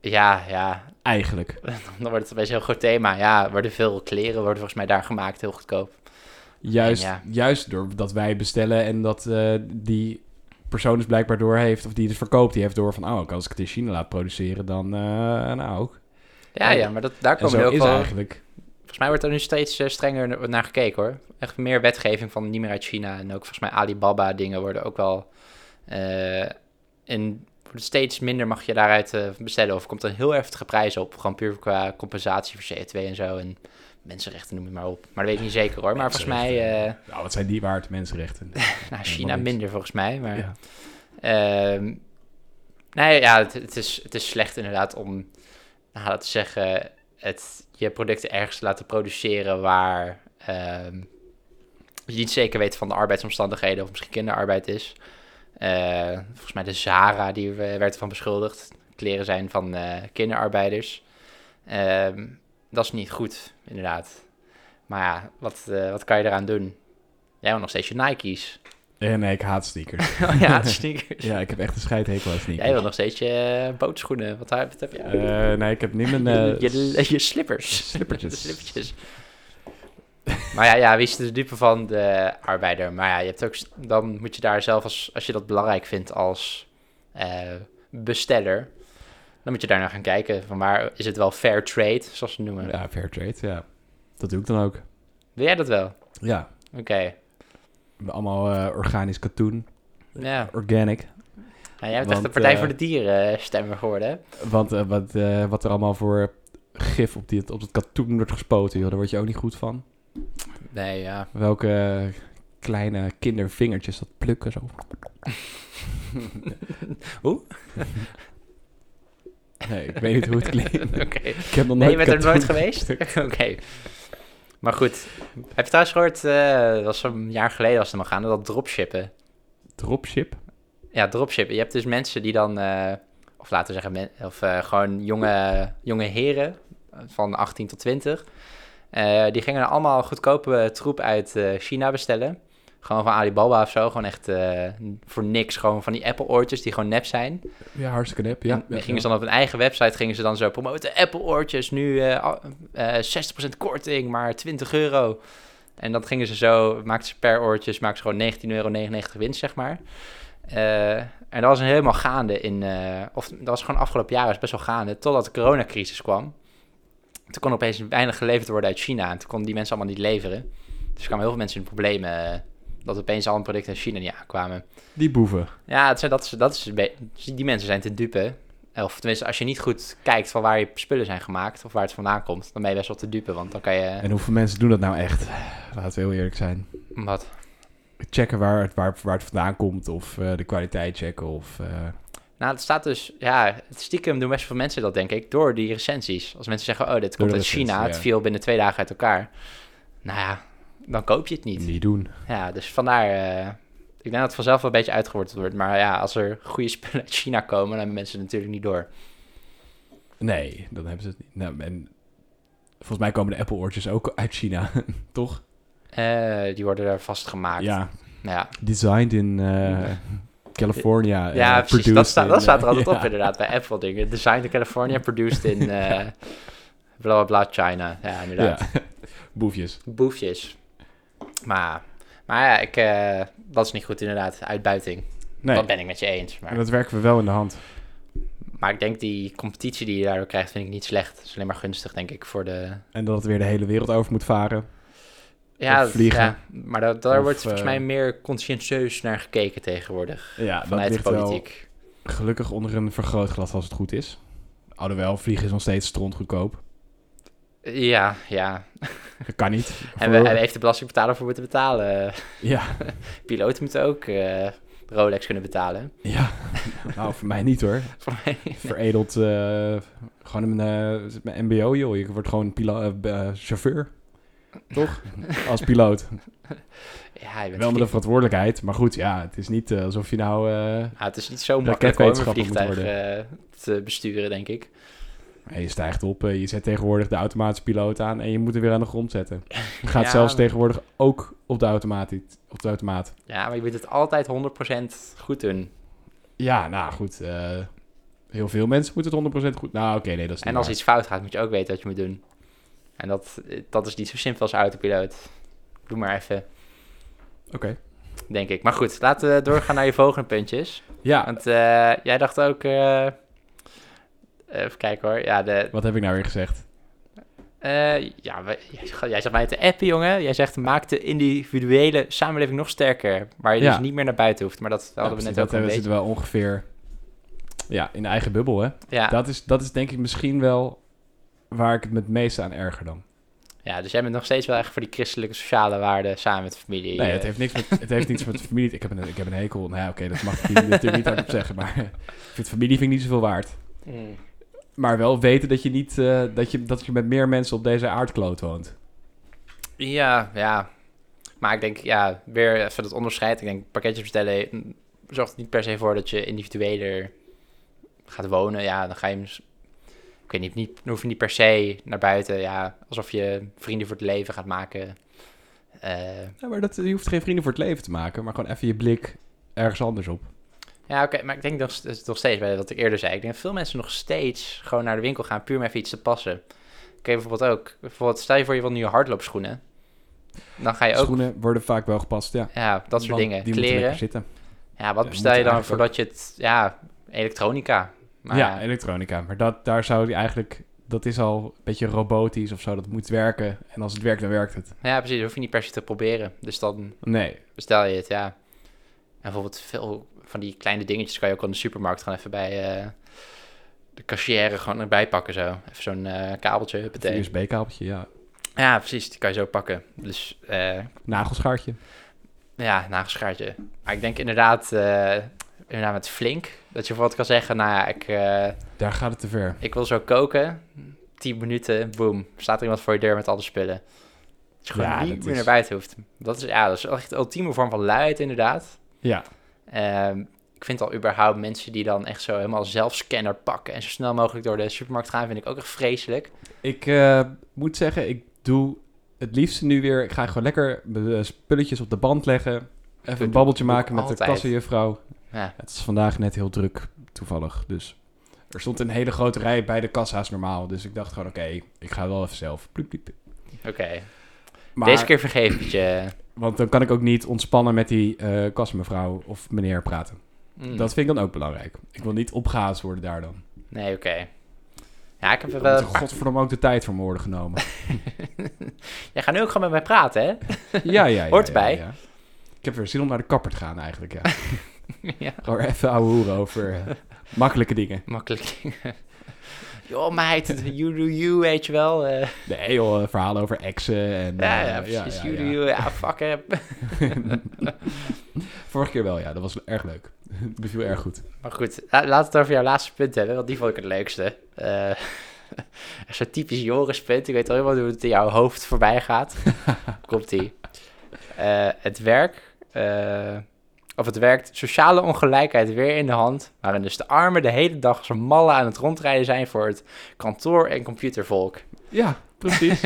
[SPEAKER 1] Ja, ja,
[SPEAKER 2] eigenlijk.
[SPEAKER 1] dan wordt het opeens een heel groot thema. Ja, er worden veel kleren worden volgens mij daar gemaakt, heel goedkoop.
[SPEAKER 2] Juist,
[SPEAKER 1] Ja.
[SPEAKER 2] juist doordat wij bestellen en dat eh, die persoon dus blijkbaar door heeft, of die het verkoopt, die heeft door van, oh, als ik het in China laat produceren, dan, eh nou ook.
[SPEAKER 1] Ja, ja, maar dat, daar
[SPEAKER 2] En
[SPEAKER 1] komen
[SPEAKER 2] zo
[SPEAKER 1] er ook
[SPEAKER 2] is
[SPEAKER 1] wel...
[SPEAKER 2] eigenlijk.
[SPEAKER 1] Volgens mij wordt er nu steeds eh, strenger na- naar gekeken, hoor. Echt meer wetgeving van niet meer uit China. En ook volgens mij Alibaba dingen worden ook wel... eh en wordt steeds minder mag je daaruit eh, bestellen. Of er komt een heel heftige prijs op. Gewoon puur qua compensatie voor CO2 en zo. En mensenrechten noem je maar op. Maar dat weet ik niet zeker, hoor. Maar volgens mij... eh,
[SPEAKER 2] Mensenrechten. Nou, wat zijn die waard, mensenrechten?
[SPEAKER 1] nou, China
[SPEAKER 2] niks.
[SPEAKER 1] minder volgens mij, maar...
[SPEAKER 2] Ja.
[SPEAKER 1] Ehm, nee, ja, het, het is, het is slecht inderdaad om, nou, laten we zeggen, het, je producten ergens te laten produceren waar ehm, je niet zeker weet van de arbeidsomstandigheden of misschien kinderarbeid is. Eh, volgens mij de Zara, die we- werd ervan beschuldigd. Kleren zijn van eh, kinderarbeiders. Ehm, dat is niet goed, inderdaad. Maar ja, wat, eh, wat kan je eraan doen? Jij wil nog steeds je Nike's.
[SPEAKER 2] Eh, nee, ik haat sneakers.
[SPEAKER 1] Oh ja, sneakers.
[SPEAKER 2] ja, ik heb echt een scheidhekel aan sneakers.
[SPEAKER 1] Jij wil nog steeds je eh, bootschoenen. Wat heb wat heb je?
[SPEAKER 2] Eh, nee, ik heb niet mijn...
[SPEAKER 1] je,
[SPEAKER 2] eh,
[SPEAKER 1] je, je slippers.
[SPEAKER 2] slippertjes.
[SPEAKER 1] De slippertjes. maar ja, ja, wie is de dupe van de arbeider? Maar ja, je hebt ook, s- dan moet je daar zelf, als, als je dat belangrijk vindt als eh, besteller, dan moet je daar naar gaan kijken. Van waar is het wel fair trade, zoals ze het noemen.
[SPEAKER 2] ja, fair trade, ja. Dat doe ik dan ook.
[SPEAKER 1] Wil jij dat wel? Oké.
[SPEAKER 2] Ja, allemaal eh, organisch katoen.
[SPEAKER 1] Ja.
[SPEAKER 2] Organic.
[SPEAKER 1] Nou, jij bent echt
[SPEAKER 2] Want,
[SPEAKER 1] de Partij
[SPEAKER 2] eh,
[SPEAKER 1] voor de Dieren eh, stemmer geworden, hè?
[SPEAKER 2] Want eh, wat, eh, wat er allemaal voor gif op, die, op dat katoen wordt gespoten, joh, daar word je ook niet goed van.
[SPEAKER 1] Nee, ja.
[SPEAKER 2] Welke eh, kleine kindervingertjes dat plukken zo.
[SPEAKER 1] Hoe?
[SPEAKER 2] Nee, ik weet niet hoe het klinkt.
[SPEAKER 1] Oké.
[SPEAKER 2] Ik heb
[SPEAKER 1] Nee,
[SPEAKER 2] nog nooit
[SPEAKER 1] je bent er
[SPEAKER 2] katoen
[SPEAKER 1] nooit geweest?
[SPEAKER 2] geplukt.
[SPEAKER 1] Oké. Maar goed. Heb je trouwens gehoord, eh, dat was een jaar geleden als het nog gaande, dat dropshippen.
[SPEAKER 2] Dropship?
[SPEAKER 1] Ja, dropshippen. Je hebt dus mensen die dan, eh, of laten we zeggen, men- of eh, gewoon jonge, jonge heren eh, van 18 tot 20. eh, die gingen allemaal goedkope troep uit eh, China bestellen. Gewoon van Alibaba of zo. Gewoon echt eh, voor niks. Gewoon van die Apple-oortjes die gewoon nep zijn.
[SPEAKER 2] Ja, hartstikke nep. Ja,
[SPEAKER 1] En
[SPEAKER 2] ja,
[SPEAKER 1] dan gingen
[SPEAKER 2] ja.
[SPEAKER 1] ze dan op hun eigen website gingen ze dan zo promoten. Apple oortjes, nu eh, al- eh, 60% korting, maar 20 euro. En dan gingen ze zo, maakten ze per oortjes, maakten ze gewoon 19,99 euro winst, zeg maar. Eh, en dat was een helemaal gaande in, eh, of dat was gewoon afgelopen jaren is best wel gaande, totdat de coronacrisis kwam. Toen kon opeens weinig geleverd worden uit China en toen konden die mensen allemaal niet leveren. Dus er kwamen heel veel mensen in de problemen eh, dat opeens al hun producten uit China niet aankwamen.
[SPEAKER 2] Die boeven.
[SPEAKER 1] Ja, het zijn, dat is, dat is, een be- die mensen zijn te dupe. Of tenminste, als je niet goed kijkt van waar je spullen zijn gemaakt of waar het vandaan komt, dan ben je best wel te dupe. Want dan kan je.
[SPEAKER 2] En hoeveel mensen doen dat nou echt? Laten we heel eerlijk zijn.
[SPEAKER 1] Wat?
[SPEAKER 2] Checken waar het, waar, waar het vandaan komt of eh, de kwaliteit checken of... eh,
[SPEAKER 1] Nou, het staat dus. Ja, het stiekem doen best veel mensen dat, denk ik, door die recensies. Als mensen zeggen, oh, dit komt
[SPEAKER 2] de
[SPEAKER 1] uit
[SPEAKER 2] recensie,
[SPEAKER 1] China, het
[SPEAKER 2] ja.
[SPEAKER 1] viel binnen twee dagen uit elkaar. Nou ja, dan koop je het niet.
[SPEAKER 2] niet doen.
[SPEAKER 1] Ja, dus vandaar. eh, ik denk dat het vanzelf wel een beetje uitgeworteld wordt. Maar ja, als er goede spullen uit China komen, dan hebben mensen het natuurlijk niet door.
[SPEAKER 2] Nee, dan hebben ze het niet. Nou, en volgens mij komen de Apple-oortjes ook uit China, toch?
[SPEAKER 1] Eh, die worden er vastgemaakt.
[SPEAKER 2] Ja,
[SPEAKER 1] Nou ja.
[SPEAKER 2] designed in eh, California. eh,
[SPEAKER 1] Ja, precies.
[SPEAKER 2] produced
[SPEAKER 1] Dat, staat
[SPEAKER 2] in,
[SPEAKER 1] dat staat er
[SPEAKER 2] eh,
[SPEAKER 1] altijd op,
[SPEAKER 2] ja.
[SPEAKER 1] inderdaad, bij Apple dingen. Designed in California, produced in eh bla bla bla China. Ja, inderdaad.
[SPEAKER 2] Ja. Boefjes.
[SPEAKER 1] Boefjes. Maar, maar ja, ik, eh, dat is niet goed, inderdaad. Uitbuiting.
[SPEAKER 2] Nee,
[SPEAKER 1] Dat ben ik met je eens.
[SPEAKER 2] en
[SPEAKER 1] Maar,
[SPEAKER 2] dat werken we wel in de hand.
[SPEAKER 1] maar ik denk die competitie die je daardoor krijgt, vind ik niet slecht. Het is alleen maar gunstig, denk ik, voor de...
[SPEAKER 2] En dat het weer de hele wereld over moet varen.
[SPEAKER 1] Ja,
[SPEAKER 2] Of
[SPEAKER 1] dat-
[SPEAKER 2] vliegen.
[SPEAKER 1] ja, maar dat, daar
[SPEAKER 2] Of,
[SPEAKER 1] wordt volgens
[SPEAKER 2] eh,
[SPEAKER 1] mij meer conscientieus naar gekeken tegenwoordig.
[SPEAKER 2] Ja,
[SPEAKER 1] Vanuit de politiek.
[SPEAKER 2] wel gelukkig onder een vergrootglas als het goed is. Alhoewel, vliegen is nog steeds strontgoedkoop.
[SPEAKER 1] Ja, ja.
[SPEAKER 2] Dat kan niet.
[SPEAKER 1] En, we,
[SPEAKER 2] Voor-
[SPEAKER 1] en heeft de belastingbetaler voor moeten betalen.
[SPEAKER 2] Ja,
[SPEAKER 1] Piloten moeten ook eh, Rolex kunnen betalen.
[SPEAKER 2] ja. nou, voor mij niet hoor.
[SPEAKER 1] Voor mij-
[SPEAKER 2] Veredeld, eh, gewoon een eh, mijn mbo joh. Je wordt gewoon pila- eh, b- eh, chauffeur. Toch? Als piloot.
[SPEAKER 1] ja, je bent
[SPEAKER 2] Wel met de
[SPEAKER 1] vlieg-
[SPEAKER 2] verantwoordelijkheid. Maar goed, ja, het is niet eh, alsof je nou... eh,
[SPEAKER 1] Ah, het is niet zo makkelijk om een
[SPEAKER 2] raketwetenschapper moet
[SPEAKER 1] vliegtuig eh, te besturen, denk ik.
[SPEAKER 2] Ja, Je stijgt op, eh, je zet tegenwoordig de automatische piloot aan en je moet er weer aan de grond zetten. Je gaat
[SPEAKER 1] Ja.
[SPEAKER 2] zelfs tegenwoordig ook op de, automaat, op de automaat.
[SPEAKER 1] Ja, maar je moet het altijd 100% goed doen.
[SPEAKER 2] Ja, nou goed. eh, heel veel mensen moeten het 100% goed. Nou, oké, nee, dat is niet
[SPEAKER 1] En als
[SPEAKER 2] waar.
[SPEAKER 1] iets fout gaat, moet je ook weten wat je moet doen. En dat, eh, dat is niet zo simpel als autopiloot. Doe maar even,
[SPEAKER 2] Oké.
[SPEAKER 1] denk ik. Maar goed, laten we doorgaan naar je volgende puntjes.
[SPEAKER 2] Ja,
[SPEAKER 1] Want eh, jij dacht ook... eh, eh, Even kijken hoor. Ja, de,
[SPEAKER 2] Wat heb ik nou weer gezegd?
[SPEAKER 1] eh, ja we- jij, jij zegt mij te appen, jongen. Jij zegt maak de individuele samenleving nog sterker. Waar je
[SPEAKER 2] Ja.
[SPEAKER 1] dus niet meer naar buiten hoeft. Maar dat hadden we
[SPEAKER 2] precies,
[SPEAKER 1] net
[SPEAKER 2] dat eh,
[SPEAKER 1] ook een
[SPEAKER 2] we
[SPEAKER 1] beetje.
[SPEAKER 2] zitten wel ongeveer ja, in de eigen bubbel, hè?
[SPEAKER 1] Ja.
[SPEAKER 2] Dat, is, dat is denk ik misschien wel waar ik het me het meeste aan erger dan.
[SPEAKER 1] ja, dus jij bent nog steeds wel echt voor die christelijke sociale waarden samen met de familie.
[SPEAKER 2] Nee,
[SPEAKER 1] eh.
[SPEAKER 2] het heeft niks met, het heeft niets met familie. Ik heb een, ik heb een hekel. Nou ja, oké, dat mag ik hier natuurlijk niet hardop zeggen. Maar ik vind familie vind ik niet zoveel waard.
[SPEAKER 1] Mm.
[SPEAKER 2] Maar wel weten dat je, niet, eh, dat je, dat je met meer mensen op deze aardkloot woont.
[SPEAKER 1] Ja, ja. Maar ik denk, ja, weer even dat onderscheid. Ik denk, pakketjes bestellen mm, zorgt er niet per se voor dat je individueler gaat wonen. Ja, dan ga je... mis- Ik weet niet, niet, dan hoef je niet per se naar buiten. Ja, alsof je vrienden voor het leven gaat maken. Eh,
[SPEAKER 2] Ja, maar dat, je hoeft geen vrienden voor het leven te maken. Maar gewoon even je blik ergens anders op.
[SPEAKER 1] ja, oké, maar ik denk nog, st- nog steeds bij wat ik eerder zei. Ik denk dat veel mensen nog steeds gewoon naar de winkel gaan puur om even iets te passen. Ik heb bijvoorbeeld ook, bijvoorbeeld stel je voor je wil nieuwe hardloopschoenen. Dan ga je ook,
[SPEAKER 2] Schoenen worden vaak wel gepast, ja.
[SPEAKER 1] ja, dat soort
[SPEAKER 2] Want
[SPEAKER 1] dingen.
[SPEAKER 2] Die moeten
[SPEAKER 1] Kleren.
[SPEAKER 2] lekker zitten.
[SPEAKER 1] Ja, wat
[SPEAKER 2] Ja,
[SPEAKER 1] bestel je
[SPEAKER 2] moet
[SPEAKER 1] dan
[SPEAKER 2] eigenlijk
[SPEAKER 1] voordat je het... Ja, elektronica. Maar
[SPEAKER 2] ja, elektronica. Maar dat, daar zou die eigenlijk... Dat is al een beetje robotisch of zo. Dat moet werken. En als het werkt, dan werkt het.
[SPEAKER 1] ja, precies. Dat hoef je niet per se te proberen. Dus dan
[SPEAKER 2] Nee.
[SPEAKER 1] bestel je het, ja. En bijvoorbeeld veel van die kleine dingetjes kan je ook in de supermarkt gewoon even bij eh, de cashier gewoon erbij pakken zo. Even zo'n eh, kabeltje,
[SPEAKER 2] Een
[SPEAKER 1] huppatee.
[SPEAKER 2] USB-kabeltje, ja.
[SPEAKER 1] Ja, precies. Die kan je zo pakken. Dus eh,
[SPEAKER 2] Nagelschaartje.
[SPEAKER 1] ja, nagelschaartje. Maar ik denk inderdaad, eh, inderdaad met flink, dat je bijvoorbeeld kan zeggen, nou ja, ik... eh,
[SPEAKER 2] Daar gaat het te ver.
[SPEAKER 1] Ik wil zo koken. 10 minuten, boom. Staat er iemand voor je deur met alle spullen. Dat je gewoon
[SPEAKER 2] Ja,
[SPEAKER 1] niet
[SPEAKER 2] dat
[SPEAKER 1] meer
[SPEAKER 2] is-
[SPEAKER 1] naar buiten hoeft. Dat is, ja, dat is echt de ultieme vorm van luiheid, inderdaad.
[SPEAKER 2] Ja.
[SPEAKER 1] Ehm, ik vind al überhaupt mensen die dan echt zo helemaal zelfscanner pakken en zo snel mogelijk door de supermarkt gaan, vind ik ook echt vreselijk.
[SPEAKER 2] Ik eh, moet zeggen, ik doe het liefste nu weer. Ik ga gewoon lekker mijn eh, spulletjes op de band leggen. Even
[SPEAKER 1] doe-
[SPEAKER 2] een babbeltje
[SPEAKER 1] doe ik
[SPEAKER 2] maken met de
[SPEAKER 1] altijd.
[SPEAKER 2] kassenjuffrouw.
[SPEAKER 1] Ja.
[SPEAKER 2] Het is vandaag net heel druk, toevallig. Dus er stond een hele grote rij bij de kassa's normaal. Dus ik dacht gewoon, oké, ik ga wel even zelf. Pliep, pliep.
[SPEAKER 1] Oké.
[SPEAKER 2] Maar,
[SPEAKER 1] Deze keer vergeef ik het je.
[SPEAKER 2] Want dan kan ik ook niet ontspannen met die eh kassenmevrouw of meneer praten.
[SPEAKER 1] Mm.
[SPEAKER 2] Dat vind ik dan ook belangrijk. Ik wil niet opgehaast worden daar dan.
[SPEAKER 1] Nee, oké. Ja, ik heb er
[SPEAKER 2] Ik heb
[SPEAKER 1] wel...
[SPEAKER 2] godverdomme ook de tijd voor mijn woorden genomen.
[SPEAKER 1] Jij gaat nu ook gewoon met mij praten, hè?
[SPEAKER 2] Ja, ja, ja.
[SPEAKER 1] Hoort
[SPEAKER 2] ja,
[SPEAKER 1] bij.
[SPEAKER 2] ja. Ik heb weer zin om naar de kapper te gaan eigenlijk, ja.
[SPEAKER 1] ja.
[SPEAKER 2] Gewoon even ouwe hoeren over eh, makkelijke dingen.
[SPEAKER 1] Makkelijk. Joh, meid, you do you, weet je wel. eh.
[SPEAKER 2] Nee joh, eh, verhalen over exen en...
[SPEAKER 1] Ja,
[SPEAKER 2] eh,
[SPEAKER 1] ja, precies.
[SPEAKER 2] ja, ja.
[SPEAKER 1] Jullie, ja, fuck hè.
[SPEAKER 2] Vorige keer wel, ja. Dat was erg leuk. Het beviel erg goed.
[SPEAKER 1] Maar goed, la- laten we het over jouw laatste punt hebben, want die vond ik het leukste. Eh Zo'n typisch Joris punt. Ik weet al helemaal hoe het in jouw hoofd voorbij gaat. Komt-ie. Eh, het werk, eh, of het werkt, sociale ongelijkheid weer in de hand, waarin dus de armen de hele dag als een malle aan het rondrijden zijn voor het kantoor- en computervolk.
[SPEAKER 2] Ja, precies.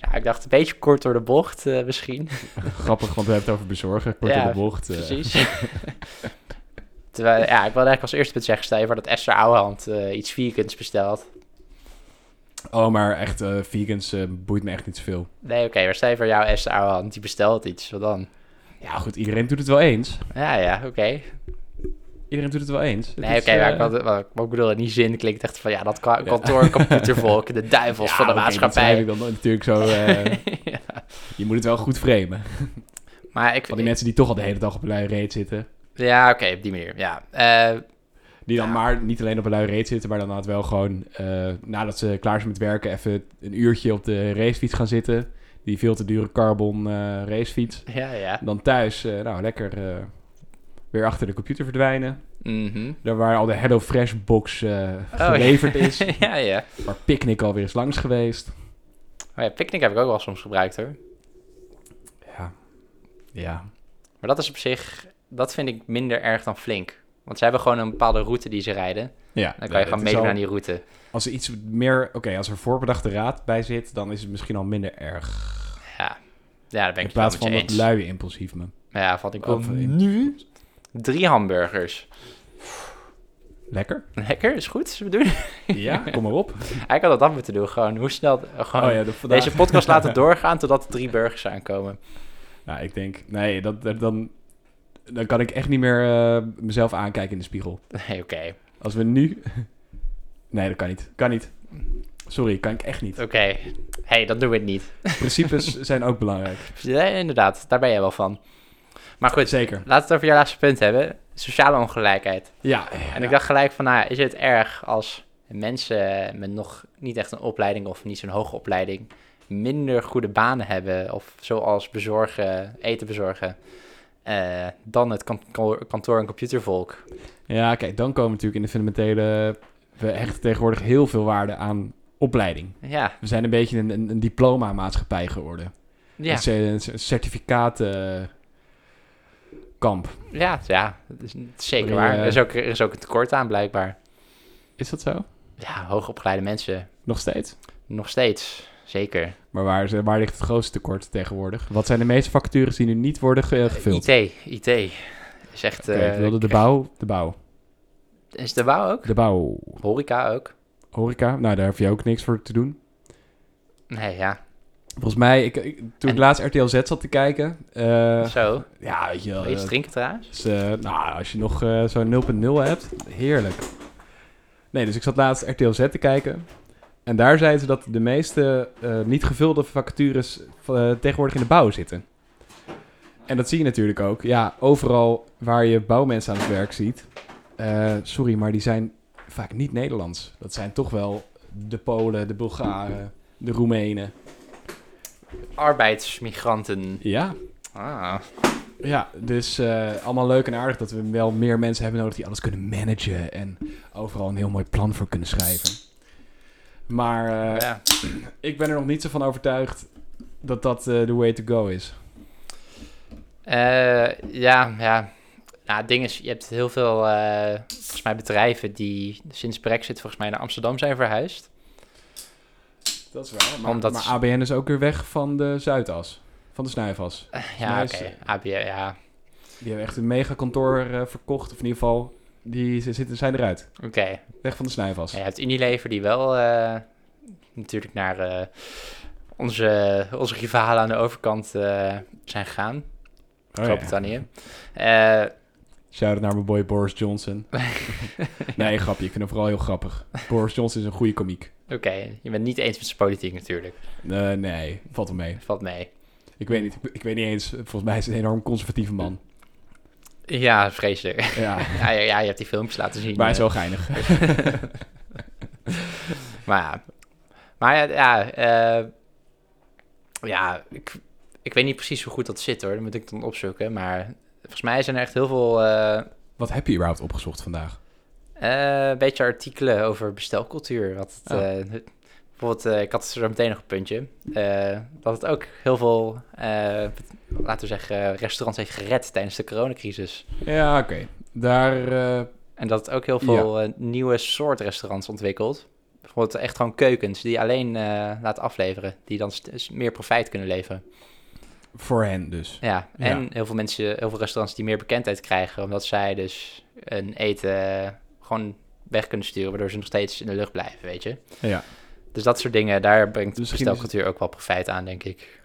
[SPEAKER 1] Ja, ik dacht een beetje kort door de bocht eh, misschien.
[SPEAKER 2] Grappig, want we hebben het over bezorgen. Kort
[SPEAKER 1] Ja,
[SPEAKER 2] in de bocht. eh.
[SPEAKER 1] Precies. Terwijl, ja, ik wilde eigenlijk als eerste punt zeggen, stel je voor dat Esther Ouwehand eh, iets vierkants bestelt.
[SPEAKER 2] Oh, maar echt, eh, vegans eh, boeit me echt niet zoveel.
[SPEAKER 1] Nee, oké, maar stel je voor jou Esther Ouwehand, die bestelt iets, wat dan?
[SPEAKER 2] Ja, goed, iedereen doet het wel eens.
[SPEAKER 1] Ja, ja, oké.
[SPEAKER 2] Iedereen doet het wel eens. Het
[SPEAKER 1] Nee,
[SPEAKER 2] is,
[SPEAKER 1] oké, maar ik,
[SPEAKER 2] eh,
[SPEAKER 1] wilde- maar ik- maar ik bedoel, in die zin klinkt het echt van, ja, dat ka- kantoorcomputervolk, de duivels van de
[SPEAKER 2] oké, dat schrijf
[SPEAKER 1] maatschappij.
[SPEAKER 2] ik dan natuurlijk zo... eh,
[SPEAKER 1] Ja.
[SPEAKER 2] Je moet het wel goed framen.
[SPEAKER 1] Maar ik...
[SPEAKER 2] Van die mensen die toch al de hele dag op een lui reet zitten.
[SPEAKER 1] Ja, oké, op die manier, ja. Eh,
[SPEAKER 2] Die dan
[SPEAKER 1] Ja.
[SPEAKER 2] maar niet alleen op een lui reet zitten, maar dan had wel gewoon eh, nadat ze klaar zijn met werken, even een uurtje op de racefiets gaan zitten. Die veel te dure carbon eh, racefiets.
[SPEAKER 1] ja, ja.
[SPEAKER 2] Dan thuis, eh, nou lekker eh, weer achter de computer verdwijnen.
[SPEAKER 1] Mhm.
[SPEAKER 2] Daar waar al de HelloFresh box eh, geleverd
[SPEAKER 1] Oh, ja.
[SPEAKER 2] is.
[SPEAKER 1] ja, ja.
[SPEAKER 2] Waar Picnic alweer is langs geweest.
[SPEAKER 1] Maar ja, picknick heb ik ook wel soms gebruikt, hoor.
[SPEAKER 2] Ja. Ja.
[SPEAKER 1] Maar dat is op zich, dat vind ik minder erg dan flink. Want ze hebben gewoon een bepaalde route die ze rijden.
[SPEAKER 2] ja.
[SPEAKER 1] Dan kan
[SPEAKER 2] Nee,
[SPEAKER 1] je gaan
[SPEAKER 2] het is
[SPEAKER 1] meedoen
[SPEAKER 2] al-
[SPEAKER 1] aan die route.
[SPEAKER 2] Als er iets meer, oké, als er voorbedachte raad bij zit, dan is het misschien al minder erg.
[SPEAKER 1] Ja, ja daar ben
[SPEAKER 2] In
[SPEAKER 1] ik het wel
[SPEAKER 2] plaats
[SPEAKER 1] met
[SPEAKER 2] van
[SPEAKER 1] je
[SPEAKER 2] dat
[SPEAKER 1] eens.
[SPEAKER 2] luie impulsief me.
[SPEAKER 1] ja, valt ik wel.
[SPEAKER 2] Of-
[SPEAKER 1] nu? Drie hamburgers.
[SPEAKER 2] Lekker?
[SPEAKER 1] Lekker, is goed. Zullen we doen?
[SPEAKER 2] Ja, kom maar op.
[SPEAKER 1] Hij kan dat af moeten doen. Gewoon hoe snel... Gewoon
[SPEAKER 2] Oh ja, de, vandaag-
[SPEAKER 1] Deze podcast laten doorgaan totdat er drie burgers aankomen.
[SPEAKER 2] Nou, ik denk, nee, dat, dat- dan, dan kan ik echt niet meer eh, mezelf aankijken in de spiegel.
[SPEAKER 1] Nee, oké.
[SPEAKER 2] Als we nu Nee, dat kan niet. Kan niet. Sorry, kan ik echt niet.
[SPEAKER 1] Oké. hey, dat doen we het niet.
[SPEAKER 2] Principes zijn ook belangrijk.
[SPEAKER 1] Ja, inderdaad, daar ben jij wel van. Maar goed,
[SPEAKER 2] Zeker.
[SPEAKER 1] laten we het over je laatste punt hebben. Sociale ongelijkheid.
[SPEAKER 2] Ja.
[SPEAKER 1] En ik dacht gelijk van, nou, is het erg als mensen met nog niet echt een opleiding of niet zo'n hoge opleiding minder goede banen hebben, of zoals bezorgen, eten bezorgen, eh, dan het kan- ko- kantoor- en computervolk.
[SPEAKER 2] Ja, kijk, dan komen we natuurlijk in de fundamentele... We hechten tegenwoordig heel veel waarde aan opleiding.
[SPEAKER 1] Ja,
[SPEAKER 2] We zijn een beetje een, een, een diploma-maatschappij geworden.
[SPEAKER 1] ja,
[SPEAKER 2] Een cer- Een, cer- certificaat... eh, kamp.
[SPEAKER 1] ja, ja, dat is niet zeker
[SPEAKER 2] Sorry,
[SPEAKER 1] waar.
[SPEAKER 2] eh.
[SPEAKER 1] Er is, ook, er is ook een tekort aan, blijkbaar.
[SPEAKER 2] Is dat zo?
[SPEAKER 1] Ja, hoogopgeleide mensen,
[SPEAKER 2] Nog steeds.
[SPEAKER 1] nog steeds, zeker.
[SPEAKER 2] Maar waar, is- waar ligt het grootste tekort tegenwoordig? Wat zijn de meeste vacatures die nu niet worden ge- gevuld?
[SPEAKER 1] IT, IT. Is echt...
[SPEAKER 2] Oké,
[SPEAKER 1] eh,
[SPEAKER 2] ik wilde de bouw, de bouw,
[SPEAKER 1] Is de bouw ook?
[SPEAKER 2] de bouw,
[SPEAKER 1] Horeca ook?
[SPEAKER 2] horeca. Nou, daar heb je ook niks voor te doen.
[SPEAKER 1] Nee, ja.
[SPEAKER 2] Volgens mij, ik, ik- toen ik
[SPEAKER 1] En-
[SPEAKER 2] laatst RTL Z zat te kijken, eh,
[SPEAKER 1] Zo.
[SPEAKER 2] ja, weet je wel.
[SPEAKER 1] Wil je iets
[SPEAKER 2] eh,
[SPEAKER 1] drinken trouwens?
[SPEAKER 2] dus, eh, nou, als je nog eh, zo'n 0.0 hebt, heerlijk. Nee, dus ik zat laatst RTL Z te kijken. En daar zeiden ze dat de meeste eh, niet gevulde vacatures eh, tegenwoordig in de bouw zitten. En dat zie je natuurlijk ook. Ja, overal waar je bouwmensen aan het werk ziet. eh, sorry, maar die zijn vaak niet Nederlands. Dat zijn toch wel de Polen, de Bulgaren, de Roemenen.
[SPEAKER 1] Arbeidsmigranten.
[SPEAKER 2] Ja,
[SPEAKER 1] Ah.
[SPEAKER 2] Ja, dus eh, allemaal leuk en aardig dat we wel meer mensen hebben nodig die alles kunnen managen en overal een heel mooi plan voor kunnen schrijven. Maar eh,
[SPEAKER 1] Ja.
[SPEAKER 2] ik ben er nog niet zo van overtuigd dat dat de way to go is.
[SPEAKER 1] Eh, ja, ja. Nou, het ding is, je hebt heel veel, eh, volgens mij, bedrijven die sinds Brexit volgens mij naar Amsterdam zijn verhuisd.
[SPEAKER 2] Dat is wel. Maar,
[SPEAKER 1] maar- Omdat-
[SPEAKER 2] maar
[SPEAKER 1] maar
[SPEAKER 2] ABN is ook weer weg van de Zuidas, van de Snuifas.
[SPEAKER 1] Eh,
[SPEAKER 2] mij
[SPEAKER 1] ja,
[SPEAKER 2] is-
[SPEAKER 1] oké. ABN, ja.
[SPEAKER 2] Die hebben echt een mega kantoor eh, verkocht, of in ieder geval, die z- zitten, zijn eruit.
[SPEAKER 1] Oké.
[SPEAKER 2] Weg van de Snuifas.
[SPEAKER 1] Ja, je hebt Unilever die wel eh, natuurlijk naar eh, onze, onze rivalen aan de overkant eh, zijn gegaan. Groot-Brittannië. Eh,
[SPEAKER 2] Oh, Shout-out naar mijn boy Boris Johnson. nee, grapje. Ik vind hem vooral heel grappig. Boris Johnson is een goede komiek.
[SPEAKER 1] Oké, je bent niet eens met zijn politiek natuurlijk.
[SPEAKER 2] Eh, nee, valt wel mee.
[SPEAKER 1] Valt mee.
[SPEAKER 2] Ik weet niet, ik, ik weet niet eens. Volgens mij is het een enorm conservatieve man.
[SPEAKER 1] Ja, vreselijk.
[SPEAKER 2] Ja,
[SPEAKER 1] ja, ja, ja, je hebt die filmpjes laten zien.
[SPEAKER 2] maar hij is
[SPEAKER 1] eh,
[SPEAKER 2] wel geinig.
[SPEAKER 1] Maar ja, maar ja, ja, eh, ja ik, ik weet niet precies hoe goed dat zit hoor. Dat moet ik dan opzoeken. Maar volgens mij zijn er echt heel veel... eh
[SPEAKER 2] Wat heb je überhaupt opgezocht vandaag?
[SPEAKER 1] eh, beetje artikelen over bestelcultuur. Wat het,
[SPEAKER 2] Oh.
[SPEAKER 1] eh, het- bijvoorbeeld, eh, ik had er zo meteen nog een puntje. eh, dat het ook heel veel, eh, laten we zeggen, restaurants heeft gered tijdens de coronacrisis.
[SPEAKER 2] Ja, oké. Daar, eh,
[SPEAKER 1] En dat het ook heel veel eh, nieuwe soort restaurants ontwikkelt. Bijvoorbeeld echt gewoon keukens die je alleen eh, laat afleveren. Die dan st- s- meer profijt kunnen leveren.
[SPEAKER 2] voor hen dus.
[SPEAKER 1] Ja,
[SPEAKER 2] Ja.
[SPEAKER 1] en heel veel mensen, heel veel restaurants die meer bekendheid krijgen. Omdat zij dus een eten eh, gewoon weg kunnen sturen. Waardoor ze nog steeds in de lucht blijven, weet je.
[SPEAKER 2] Ja.
[SPEAKER 1] Dus dat soort dingen, daar brengt
[SPEAKER 2] Dus
[SPEAKER 1] de
[SPEAKER 2] misschien is het-
[SPEAKER 1] bestelcultuur ook wel profijt aan, denk ik.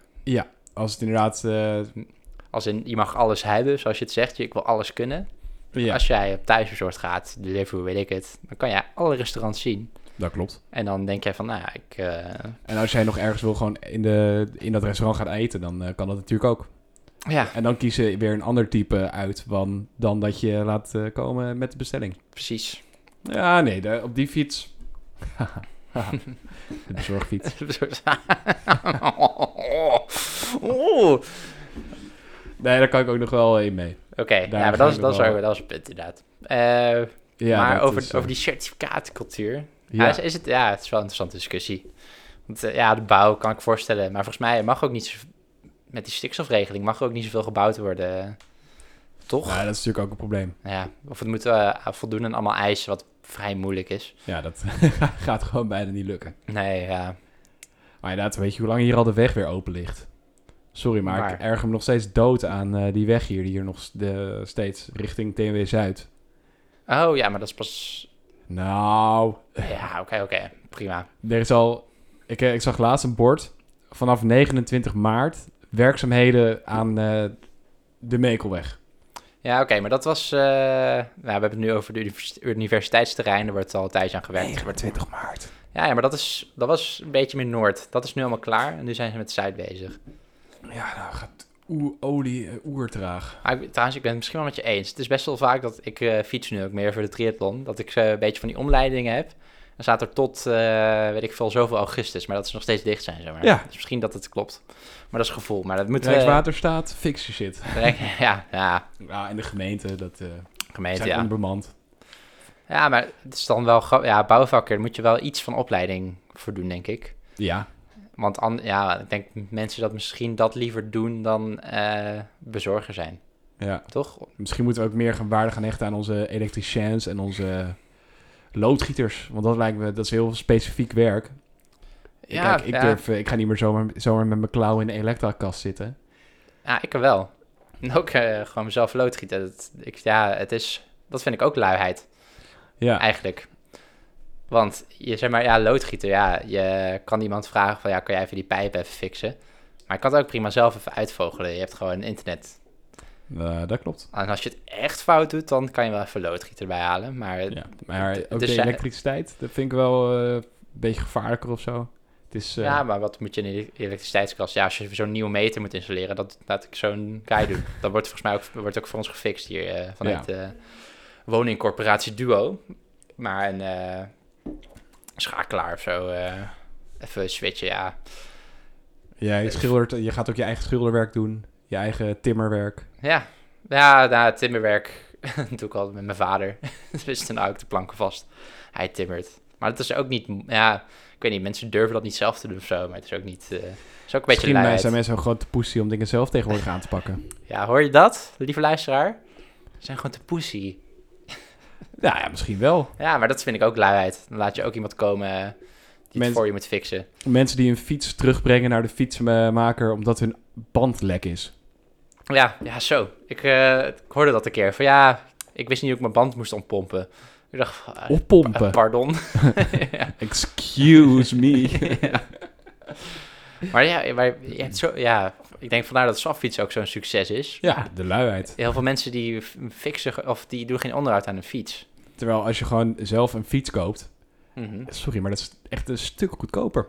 [SPEAKER 2] Als het inderdaad... eh,
[SPEAKER 1] Als in, je mag alles hebben, zoals je het zegt. Je, ik wil alles kunnen.
[SPEAKER 2] ja,
[SPEAKER 1] Als jij op thuisbezorgd gaat, delivery, weet ik het. Dan kan je alle restaurants zien.
[SPEAKER 2] dat klopt.
[SPEAKER 1] En dan denk jij van, nou, ja, ik... eh,
[SPEAKER 2] En als jij nog ergens wil gewoon in, de, in dat restaurant gaan eten, dan eh, kan dat natuurlijk ook.
[SPEAKER 1] ja,
[SPEAKER 2] En dan kies je weer een ander type uit dan, dan dat je laat eh, komen met de bestelling.
[SPEAKER 1] precies.
[SPEAKER 2] Ja, nee, daar- op die fiets... de bezorgfiets.
[SPEAKER 1] Oeh.
[SPEAKER 2] Nee, daar kan ik ook nog wel in mee.
[SPEAKER 1] Oké, ja,
[SPEAKER 2] gaan
[SPEAKER 1] maar dat is,
[SPEAKER 2] we
[SPEAKER 1] dat, is,
[SPEAKER 2] wel-
[SPEAKER 1] ook- dat is een punt inderdaad. Eh,
[SPEAKER 2] Ja,
[SPEAKER 1] maar
[SPEAKER 2] dat
[SPEAKER 1] over,
[SPEAKER 2] is, eh,
[SPEAKER 1] over die certificaatcultuur. Ja.
[SPEAKER 2] ja.
[SPEAKER 1] is, is het, ja, het is wel een interessante discussie. Want eh, ja, de bouw kan ik voorstellen. Maar volgens mij mag ook niet... zo- Met die stikstofregeling mag er ook niet zoveel gebouwd worden. Toch?
[SPEAKER 2] Ja, dat is natuurlijk ook een probleem.
[SPEAKER 1] Ja, of het moet eh, voldoen aan allemaal eisen, wat vrij moeilijk is.
[SPEAKER 2] Ja, dat gaat gewoon bijna niet lukken.
[SPEAKER 1] Nee, ja.
[SPEAKER 2] Maar inderdaad, weet je hoe lang hier al de weg weer open ligt? Sorry, maar, ik
[SPEAKER 1] Maar-
[SPEAKER 2] erger me nog steeds dood aan eh, die weg hier, die hier nog s- de, steeds richting TNW Zuid.
[SPEAKER 1] Oh ja, maar dat is pas...
[SPEAKER 2] Nou,
[SPEAKER 1] Ja, oké, oké. Prima.
[SPEAKER 2] er is al... Ik, eh, ik zag laatst een bord vanaf 29 maart werkzaamheden aan eh, de Mekelweg.
[SPEAKER 1] Ja, oké, maar dat was... eh, nou, we hebben het nu over de univers- universiteitsterreinen. Daar wordt al een tijdje aan gewerkt.
[SPEAKER 2] 29 maart.
[SPEAKER 1] Ja, ja, maar dat, is, dat was een beetje meer Noord. Dat is nu allemaal klaar en nu zijn ze met Zuid bezig.
[SPEAKER 2] Ja, nou gaat oer- olie eh, oertraag.
[SPEAKER 1] Maar Ah, ik- trouwens, ik ben het misschien wel met je eens. Het is best wel vaak dat ik eh, fiets nu ook meer voor de triathlon. Dat ik eh, een beetje van die omleidingen heb. Dan staat er tot, eh, weet ik veel, zoveel augustus. Maar dat ze nog steeds dicht zijn, zeg maar.
[SPEAKER 2] Ja.
[SPEAKER 1] Dus misschien dat het klopt. Maar dat is gevoel. Maar dat moeten we...
[SPEAKER 2] Rijkswaterstaat, fix je shit.
[SPEAKER 1] Ja, ja,
[SPEAKER 2] Ja, en de gemeente, dat eh
[SPEAKER 1] gemeente,
[SPEAKER 2] zijn
[SPEAKER 1] ja.
[SPEAKER 2] onbemand.
[SPEAKER 1] Ja, maar het is dan wel... gra- Ja, bouwvakker, daar moet je wel iets van opleiding voor doen, denk ik.
[SPEAKER 2] Ja,
[SPEAKER 1] Want an- ja, ik denk mensen dat misschien dat liever doen dan eh, bezorger zijn,
[SPEAKER 2] ja.
[SPEAKER 1] toch?
[SPEAKER 2] Misschien moeten we ook meer gaan waarde gaan hechten aan onze elektriciens en onze loodgieters. Want dat lijkt me, dat is heel specifiek werk.
[SPEAKER 1] Ja,
[SPEAKER 2] Kijk, ik,
[SPEAKER 1] ja.
[SPEAKER 2] durf, eh, ik ga niet meer zomaar, zomaar met mijn klauwen in de elektra-kast zitten.
[SPEAKER 1] Ja, ik wel. En ook eh, gewoon mezelf loodgieten. Dat, ik, ja, het is, dat vind ik ook luiheid,
[SPEAKER 2] Ja,
[SPEAKER 1] eigenlijk. Want je zeg maar, ja, loodgieten, ja, je kan iemand vragen van, ja, kan jij even die pijp even fixen? Maar ik kan het ook prima zelf even uitvogelen. Je hebt gewoon internet.
[SPEAKER 2] eh, dat klopt.
[SPEAKER 1] En als je het echt fout doet, dan kan je wel even loodgieter erbij halen. Maar het-
[SPEAKER 2] Ja. Maar
[SPEAKER 1] Eh, het
[SPEAKER 2] ook
[SPEAKER 1] is-
[SPEAKER 2] de elektriciteit, dat vind ik wel eh, een beetje gevaarlijker of zo. Het is, eh,
[SPEAKER 1] Ja, maar wat moet je in de elektriciteitskast? Ja, als je zo'n nieuwe meter moet installeren, dat laat ik zo'n guy doen. Dat wordt volgens mij ook, wordt ook voor ons gefixt hier eh, vanuit de woningcorporatie Duo. Maar een eh, schakelaar of zo, eh, even switchen, ja.
[SPEAKER 2] ja, je, schildert, je gaat ook je eigen schilderwerk doen, je eigen timmerwerk.
[SPEAKER 1] Ja, ja nou, het timmerwerk doe ik altijd met mijn vader. dus dan hou ik de planken vast. Hij timmert. Maar dat is ook niet, ja, ik weet niet, mensen durven dat niet zelf te doen of zo. Maar het is ook niet, eh, het is ook een beetje
[SPEAKER 2] Misschien eh,
[SPEAKER 1] luiheid.
[SPEAKER 2] zijn mensen gewoon te poesie om dingen zelf tegenwoordig aan te pakken.
[SPEAKER 1] Ja, hoor je dat, lieve luisteraar? Ze zijn gewoon te poesie.
[SPEAKER 2] Nou ja, misschien wel.
[SPEAKER 1] Ja, maar dat vind ik ook luiheid. Dan laat je ook iemand komen eh, die
[SPEAKER 2] Mensen-
[SPEAKER 1] het voor je moet fixen.
[SPEAKER 2] Mensen die een fiets terugbrengen naar de fietsmaker omdat hun band lek is.
[SPEAKER 1] Ja, ja zo. Ik, eh, ik hoorde dat een keer. Van ja, ik wist niet hoe ik mijn band moest ontpompen. Ik dacht, eh, eh,
[SPEAKER 2] Oppompen.
[SPEAKER 1] pardon. ja.
[SPEAKER 2] Excuse me.
[SPEAKER 1] Maar ja, maar je hebt zo, ja, ik denk vandaar dat Saffiets ook zo'n succes is.
[SPEAKER 2] ja, de luiheid.
[SPEAKER 1] Heel veel mensen die f- fixen, ge- of die doen geen onderhoud aan hun fiets.
[SPEAKER 2] Terwijl als je gewoon zelf een fiets koopt,
[SPEAKER 1] Mhm.
[SPEAKER 2] Sorry, maar dat is echt een stuk goedkoper.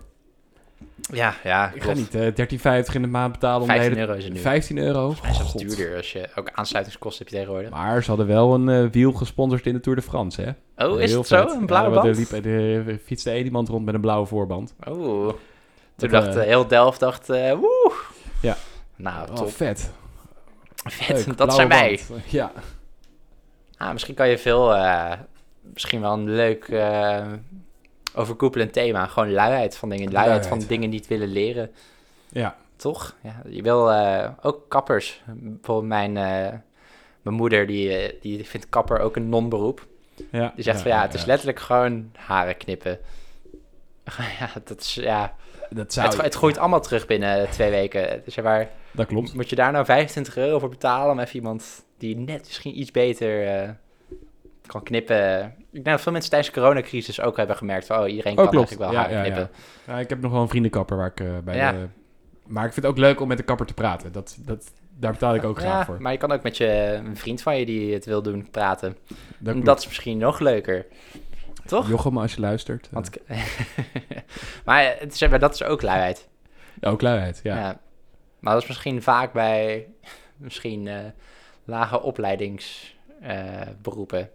[SPEAKER 1] Ja, ja.
[SPEAKER 2] Ik ga
[SPEAKER 1] klopt.
[SPEAKER 2] niet eh 13,50 in de maand betalen om de
[SPEAKER 1] 15
[SPEAKER 2] hele...
[SPEAKER 1] euro is het nu.
[SPEAKER 2] 15 euro?
[SPEAKER 1] Volgens mij is dat
[SPEAKER 2] God.
[SPEAKER 1] duurder als je ook aansluitingskosten hebt tegenwoordig.
[SPEAKER 2] Maar ze hadden wel een eh, wiel gesponsord in de Tour de France, hè?
[SPEAKER 1] Oh, is
[SPEAKER 2] Heel
[SPEAKER 1] het zo?
[SPEAKER 2] vet.
[SPEAKER 1] Een blauwe
[SPEAKER 2] Ja, want
[SPEAKER 1] band?
[SPEAKER 2] Er, liep, er eh, fietste één iemand rond met een blauwe voorband.
[SPEAKER 1] Oh. Toen
[SPEAKER 2] Dat,
[SPEAKER 1] dacht
[SPEAKER 2] eh,
[SPEAKER 1] eh, heel Delft, dacht, eh, woe.
[SPEAKER 2] Ja.
[SPEAKER 1] Nou,
[SPEAKER 2] Oh,
[SPEAKER 1] top.
[SPEAKER 2] vet.
[SPEAKER 1] Vet,
[SPEAKER 2] Leuk,
[SPEAKER 1] dat zijn
[SPEAKER 2] blauwe
[SPEAKER 1] wij.
[SPEAKER 2] band. Ja.
[SPEAKER 1] Ah, misschien kan je veel, eh, misschien wel een leuk eh, overkoepelend thema. Gewoon luiheid van dingen. Luiheid, van
[SPEAKER 2] Luiheid.
[SPEAKER 1] dingen niet willen leren,
[SPEAKER 2] Ja.
[SPEAKER 1] toch? Ja, je wil eh, ook kappers. Bijvoorbeeld mijn, eh, mijn moeder, die, eh, die vindt kapper ook een non-beroep.
[SPEAKER 2] ja.
[SPEAKER 1] Die Dus zegt van ja, het is letterlijk gewoon haren knippen. Ja, dat is, ja.
[SPEAKER 2] Dat zou...
[SPEAKER 1] Het, het groeit allemaal terug binnen twee weken. Dus zeg maar,
[SPEAKER 2] Dat klopt.
[SPEAKER 1] Moet je daar nou 25 euro voor betalen om even iemand die net misschien iets beter eh, kan knippen? Ik denk dat veel mensen tijdens de coronacrisis ook hebben gemerkt van, oh, iedereen kan
[SPEAKER 2] Oh, klopt.
[SPEAKER 1] eigenlijk wel
[SPEAKER 2] Ja,
[SPEAKER 1] haren
[SPEAKER 2] ja, ja.
[SPEAKER 1] knippen.
[SPEAKER 2] Ja, ik heb nog wel een vriendenkapper waar ik eh, bij
[SPEAKER 1] Ja.
[SPEAKER 2] de... Maar ik vind het ook leuk om met de kapper te praten. Dat, dat, daar betaal ik ook graag
[SPEAKER 1] Ja,
[SPEAKER 2] voor.
[SPEAKER 1] maar je kan ook met je een vriend van je die het wil doen praten.
[SPEAKER 2] Dat
[SPEAKER 1] Dat,
[SPEAKER 2] klopt.
[SPEAKER 1] is misschien nog leuker. Toch?
[SPEAKER 2] Jochem, als je luistert. eh,
[SPEAKER 1] Want, maar eh, het is, maar dat is ook luiheid.
[SPEAKER 2] ook luiheid,
[SPEAKER 1] Ja.
[SPEAKER 2] Oh, ja.
[SPEAKER 1] Maar dat is misschien vaak bij misschien eh, lage opleidingsberoepen. eh,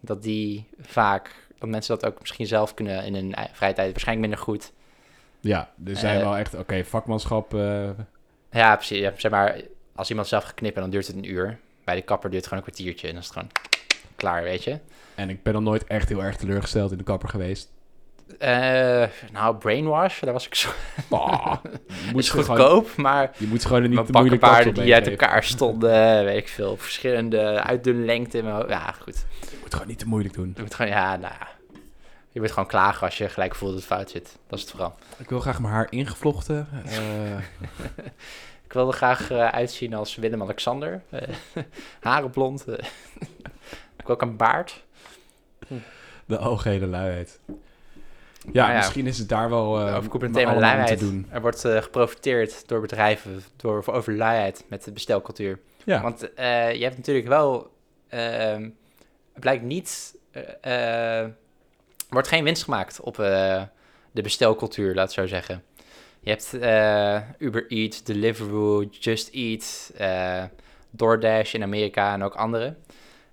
[SPEAKER 1] dat die vaak, dat mensen dat ook misschien zelf kunnen in hun ei- vrije tijd. Waarschijnlijk minder goed.
[SPEAKER 2] Ja, er zijn
[SPEAKER 1] Eh,
[SPEAKER 2] wel echt, oké, vakmanschap. eh,
[SPEAKER 1] Ja, precies. Ja, zeg maar, als iemand zelf gaat knippen, dan duurt het een uur. Bij de kapper duurt het gewoon een kwartiertje en dan is het gewoon klaar, weet je.
[SPEAKER 2] en ik ben dan nooit echt heel erg teleurgesteld in de kapper geweest.
[SPEAKER 1] Eh, nou, brainwash, daar was ik zo.
[SPEAKER 2] Ah, je, moet
[SPEAKER 1] is
[SPEAKER 2] ze
[SPEAKER 1] goedkoop,
[SPEAKER 2] gewoon,
[SPEAKER 1] maar
[SPEAKER 2] je moet ze gewoon een niet
[SPEAKER 1] mijn
[SPEAKER 2] te moeilijk
[SPEAKER 1] pakkenpaarden die uit
[SPEAKER 2] elkaar.
[SPEAKER 1] elkaar stonden, weet ik veel, verschillende uitdunlengte. maar- Ja, goed.
[SPEAKER 2] Je moet gewoon niet te moeilijk doen.
[SPEAKER 1] Je moet gewoon, ja, nou ja. Je moet gewoon klagen als je gelijk voelt dat het fout zit. Dat is het vooral.
[SPEAKER 2] Ik wil graag mijn haar ingevlochten. eh,
[SPEAKER 1] Ik wilde graag eh, uitzien als Willem-Alexander. Eh, haren blond. eh. ik wil ook een baard.
[SPEAKER 2] de algehele luiheid. Ja,
[SPEAKER 1] Maar Nou ja.
[SPEAKER 2] misschien is het daar wel eh
[SPEAKER 1] Over het
[SPEAKER 2] wel
[SPEAKER 1] thema
[SPEAKER 2] allemaal aan
[SPEAKER 1] luiheid.
[SPEAKER 2] te doen.
[SPEAKER 1] Er wordt eh, geprofiteerd door bedrijven door, voor over luiheid met de bestelcultuur.
[SPEAKER 2] Ja,
[SPEAKER 1] Want eh, je hebt natuurlijk wel... ehm, het blijkt niet... eh, eh, er wordt geen winst gemaakt op eh, de bestelcultuur, laat het zo zeggen. Je hebt eh, Uber Eats, Deliveroo, Just Eat, eh, DoorDash in Amerika en ook andere.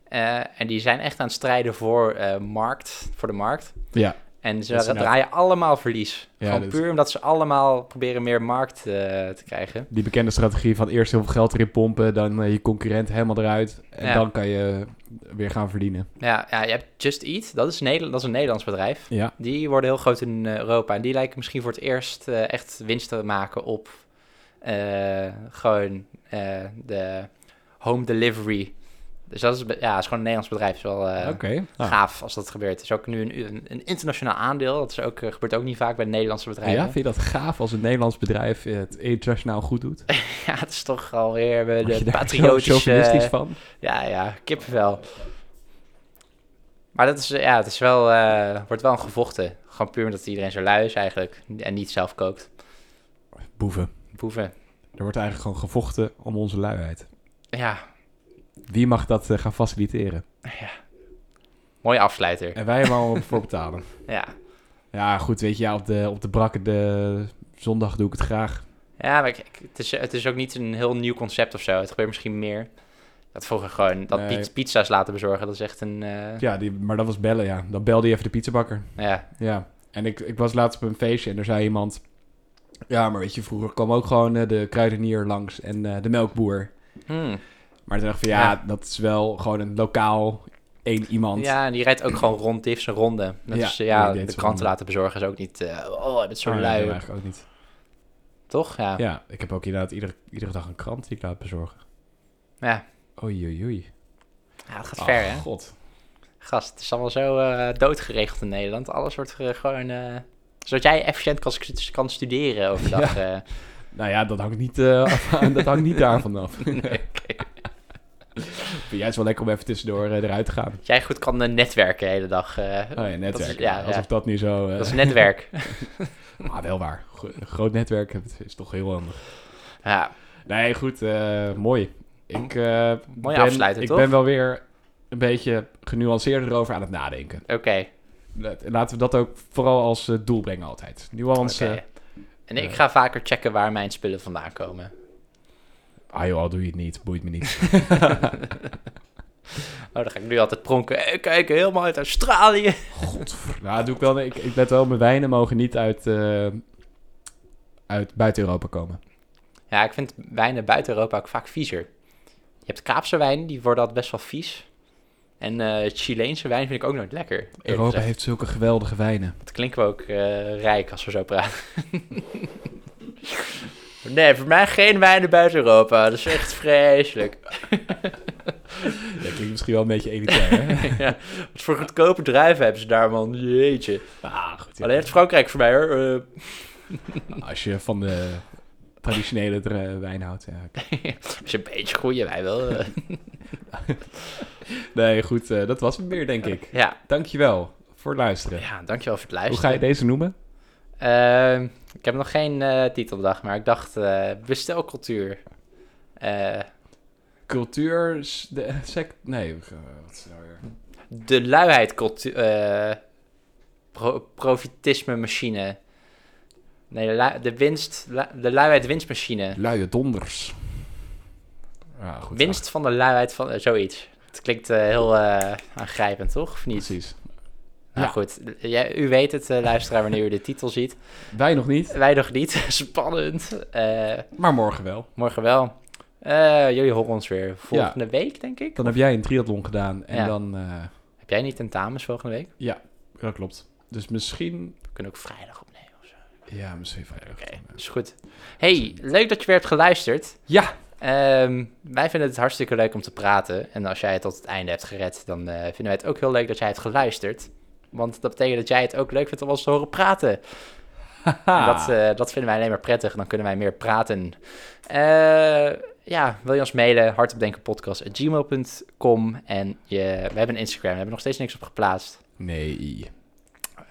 [SPEAKER 1] Eh, en die zijn echt aan het strijden voor, eh, markt, voor de markt.
[SPEAKER 2] ja.
[SPEAKER 1] En ze
[SPEAKER 2] Dat is
[SPEAKER 1] ra- draaien allemaal verlies.
[SPEAKER 2] Ja,
[SPEAKER 1] Gewoon
[SPEAKER 2] dat is-
[SPEAKER 1] puur omdat ze allemaal proberen meer markt eh, te krijgen.
[SPEAKER 2] die bekende strategie van eerst heel veel geld erin pompen, dan eh, je concurrent helemaal eruit en
[SPEAKER 1] Ja.
[SPEAKER 2] dan kan je weer gaan verdienen.
[SPEAKER 1] Ja, ja, je hebt Just Eat, dat is, Nederland, dat is een Nederlands bedrijf.
[SPEAKER 2] Ja,
[SPEAKER 1] Die worden heel groot in eh, Europa. En die lijken misschien voor het eerst eh, echt winst te maken op eh, gewoon eh, de home delivery. Dus dat is, be- ja, is gewoon een Nederlands bedrijf. Is wel, eh,
[SPEAKER 2] oké. Ah.
[SPEAKER 1] Gaaf als dat gebeurt. Het is ook nu een, een, een internationaal aandeel. Dat is ook, eh, gebeurt ook niet vaak bij Nederlandse bedrijven.
[SPEAKER 2] Ja, vind je dat gaaf als een Nederlands bedrijf het internationaal goed doet?
[SPEAKER 1] Ja, het is toch alweer eh,
[SPEAKER 2] Word je
[SPEAKER 1] de
[SPEAKER 2] daar zo
[SPEAKER 1] patriotische...
[SPEAKER 2] chauvinistisch van?
[SPEAKER 1] Ja, ja, kippenvel. Maar dat is, eh, ja, het is wel, eh, wordt wel een gevochten. Gewoon puur omdat iedereen zo lui is eigenlijk. En niet zelf kookt.
[SPEAKER 2] Boeven.
[SPEAKER 1] Boeven.
[SPEAKER 2] Er wordt eigenlijk gewoon gevochten om onze luiheid.
[SPEAKER 1] Ja,
[SPEAKER 2] Wie mag dat eh, gaan faciliteren?
[SPEAKER 1] mooie afsluiter.
[SPEAKER 2] En wij hebben al voor betalen.
[SPEAKER 1] Ja.
[SPEAKER 2] Ja, goed, weet je, ja, op de, op de brakke de zondag doe ik het graag.
[SPEAKER 1] Ja, maar kijk, het is, het is ook niet een heel nieuw concept of zo. Het gebeurt misschien meer. Dat vroeger gewoon, dat
[SPEAKER 2] Nee.
[SPEAKER 1] piz- pizza's laten bezorgen, dat is echt een... eh,
[SPEAKER 2] Ja, die, maar dat was bellen, ja. Dan belde je even de pizzabakker.
[SPEAKER 1] ja.
[SPEAKER 2] Ja, en ik, ik was laatst op een feestje en er zei iemand... Ja, maar weet je, vroeger kwam ook gewoon eh, de kruidenier langs en eh, de melkboer.
[SPEAKER 1] Hmm.
[SPEAKER 2] Maar toen dacht ik van, ja,
[SPEAKER 1] Ja.
[SPEAKER 2] dat is wel gewoon een lokaal één iemand.
[SPEAKER 1] Ja, en die rijdt ook gewoon rond, die heeft zijn ronde. Dat
[SPEAKER 2] Ja,
[SPEAKER 1] is, eh, ja,
[SPEAKER 2] die
[SPEAKER 1] de
[SPEAKER 2] deed zijn
[SPEAKER 1] kranten
[SPEAKER 2] ronde.
[SPEAKER 1] laten bezorgen is ook niet... eh, oh, dat is
[SPEAKER 2] Oh,
[SPEAKER 1] zo'n
[SPEAKER 2] ja,
[SPEAKER 1] lui.
[SPEAKER 2] nee, eigenlijk ook niet.
[SPEAKER 1] Toch? Ja. ja.
[SPEAKER 2] Ja, ik heb ook inderdaad iedere, iedere dag een krant die ik laat bezorgen. Oei, oei, oei.
[SPEAKER 1] Ja, dat gaat
[SPEAKER 2] Oh,
[SPEAKER 1] ver, hè?
[SPEAKER 2] god.
[SPEAKER 1] Gast, het is allemaal zo eh, doodgeregeld in Nederland. Alles wordt eh, gewoon... eh, zodat jij efficiënt kan, stu- kan studeren overdag. eh.
[SPEAKER 2] Nou ja, dat hangt niet, eh, af- dat hangt niet daarvan af.
[SPEAKER 1] Nee, oké.
[SPEAKER 2] Vind jij het wel lekker om even tussendoor eh, eruit te gaan?
[SPEAKER 1] Dat jij goed kan eh, netwerken de hele dag. eh.
[SPEAKER 2] Oh ja, netwerk.
[SPEAKER 1] Dat is, ja,
[SPEAKER 2] Alsof
[SPEAKER 1] ja.
[SPEAKER 2] dat nu zo... eh,
[SPEAKER 1] Dat is netwerk.
[SPEAKER 2] Maar wel waar. Gro- een groot netwerk het is toch heel handig.
[SPEAKER 1] ja.
[SPEAKER 2] Nee, goed. eh, mooi. Ik, eh, ben,
[SPEAKER 1] afsluiter,
[SPEAKER 2] Ik
[SPEAKER 1] toch?
[SPEAKER 2] ben wel weer een beetje genuanceerder over aan het nadenken.
[SPEAKER 1] Oké,
[SPEAKER 2] Laat- Laten we dat ook vooral als eh, doel brengen altijd. Nuance.
[SPEAKER 1] oké. En
[SPEAKER 2] eh.
[SPEAKER 1] ik ga vaker checken waar mijn spullen vandaan komen.
[SPEAKER 2] Ah joh, al doe je het niet. Boeit me niet.
[SPEAKER 1] Oh, dan ga ik nu altijd pronken. Eh, kijk, helemaal uit Australië.
[SPEAKER 2] nou, doe ik wel. Ik, ik let wel, mijn wijnen mogen niet uit, eh, uit buiten Europa komen.
[SPEAKER 1] Ja, ik vind wijnen buiten Europa ook vaak viezer. Je hebt Kaapse wijnen, die worden altijd best wel vies. En eh, Chileense wijn vind ik ook nooit lekker. eerlijk
[SPEAKER 2] Europa
[SPEAKER 1] gezegd.
[SPEAKER 2] heeft zulke geweldige wijnen.
[SPEAKER 1] Dat klinken we ook eh, rijk als we zo praten. nee, voor mij geen wijnen buiten Europa. Dat is echt vreselijk.
[SPEAKER 2] Dat klinkt misschien wel een beetje elitair, hè?
[SPEAKER 1] ja, wat voor goedkope druiven hebben ze daar, man. Jeetje.
[SPEAKER 2] Ah, goed, ja.
[SPEAKER 1] Alleen het Frankrijk voor mij, hoor. Eh,
[SPEAKER 2] Als je van de traditionele dr- wijn houdt. Ja.
[SPEAKER 1] Als je een beetje goeie wij wel. eh.
[SPEAKER 2] Nee, goed, eh, dat was het meer, denk ik.
[SPEAKER 1] ja.
[SPEAKER 2] Dankjewel voor het luisteren.
[SPEAKER 1] ja, dankjewel voor het
[SPEAKER 2] Hoe
[SPEAKER 1] luisteren.
[SPEAKER 2] ga je deze noemen?
[SPEAKER 1] Ehm, ik heb nog geen eh, titel bedacht, maar ik dacht eh, bestelcultuur. Eh,
[SPEAKER 2] Cultuur, s- de, sec, nee, eh, wat is het nou weer?
[SPEAKER 1] de luiheid cultuur... pro profitisme machine. Nee, de, lu- de winst... lu- de luiheid winstmachine.
[SPEAKER 2] Luie donders. Ja, goed.
[SPEAKER 1] Winst van de luiheid van... eh, zoiets. Het klinkt eh, heel eh, aangrijpend, toch? Of
[SPEAKER 2] Ja,
[SPEAKER 1] niet?
[SPEAKER 2] Precies.
[SPEAKER 1] Nou
[SPEAKER 2] Ja.
[SPEAKER 1] goed, jij- u weet het, eh, luisteraar, wanneer u de titel ziet.
[SPEAKER 2] Wij nog niet,
[SPEAKER 1] Wij nog niet. Spannend. Eh,
[SPEAKER 2] maar morgen wel.
[SPEAKER 1] Morgen wel. Eh, jullie horen ons weer volgende week, denk ik.
[SPEAKER 2] Dan heb jij een triathlon gedaan en
[SPEAKER 1] Ja.
[SPEAKER 2] dan... eh,
[SPEAKER 1] Heb jij niet tentamens volgende week?
[SPEAKER 2] dat klopt. Dus misschien...
[SPEAKER 1] We kunnen ook vrijdag opnemen of zo.
[SPEAKER 2] Ja, misschien vrijdag.
[SPEAKER 1] Oké, is goed. Hey, leuk dat je weer hebt geluisterd.
[SPEAKER 2] Ja,
[SPEAKER 1] Ehm, wij vinden het hartstikke leuk om te praten. En als jij het tot het einde hebt gered, dan eh, vinden wij het ook heel leuk dat jij hebt geluisterd. Want dat betekent dat jij het ook leuk vindt om ons te horen praten. En Dat, eh, dat vinden wij alleen maar prettig. Dan kunnen wij meer praten. Eh, ja, wil je ons mailen? hardopdenkenpodcast.gmail.com En je, we hebben een Instagram. We hebben nog steeds niks op geplaatst.
[SPEAKER 2] Nee.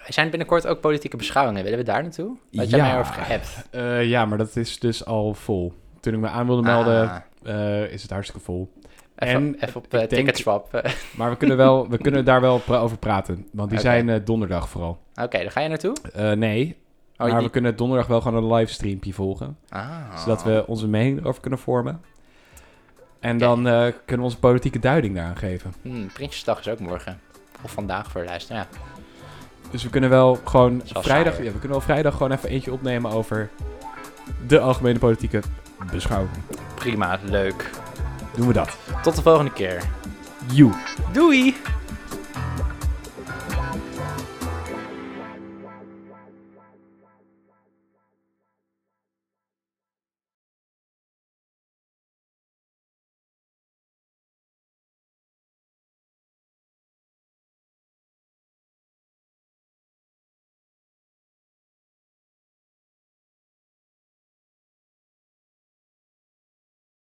[SPEAKER 1] Zijn binnenkort ook politieke beschouwingen? Willen we daar naartoe? Wat jij
[SPEAKER 2] Ja.
[SPEAKER 1] mij over geappt.
[SPEAKER 2] Eh, ja, maar dat is dus al vol. Toen ik me aan wilde melden,
[SPEAKER 1] Ah,
[SPEAKER 2] eh, is het hartstikke vol.
[SPEAKER 1] even,
[SPEAKER 2] en
[SPEAKER 1] even op
[SPEAKER 2] ik
[SPEAKER 1] eh,
[SPEAKER 2] denk-
[SPEAKER 1] ticketswap. Oké,
[SPEAKER 2] Maar we kunnen, wel, we kunnen daar wel pra- over praten. Want die
[SPEAKER 1] Oké.
[SPEAKER 2] zijn eh, donderdag vooral.
[SPEAKER 1] daar ga je naartoe?
[SPEAKER 2] Eh, nee,
[SPEAKER 1] Oh,
[SPEAKER 2] maar
[SPEAKER 1] die-
[SPEAKER 2] we kunnen donderdag wel gewoon een livestreampje volgen.
[SPEAKER 1] Ah.
[SPEAKER 2] Zodat we onze mening erover kunnen vormen. En dan eh, kunnen we onze politieke duiding daaraan geven.
[SPEAKER 1] Hmm, Prinsjesdag is ook morgen. Of vandaag voor de luisteraar. Ja.
[SPEAKER 2] Dus we kunnen wel gewoon
[SPEAKER 1] is wel
[SPEAKER 2] vrijdag,
[SPEAKER 1] saai,
[SPEAKER 2] ja, we kunnen wel vrijdag gewoon even eentje opnemen over de algemene politieke beschouwing.
[SPEAKER 1] Prima, leuk.
[SPEAKER 2] Doen we dat.
[SPEAKER 1] Tot de volgende keer.
[SPEAKER 2] You.
[SPEAKER 1] Doei!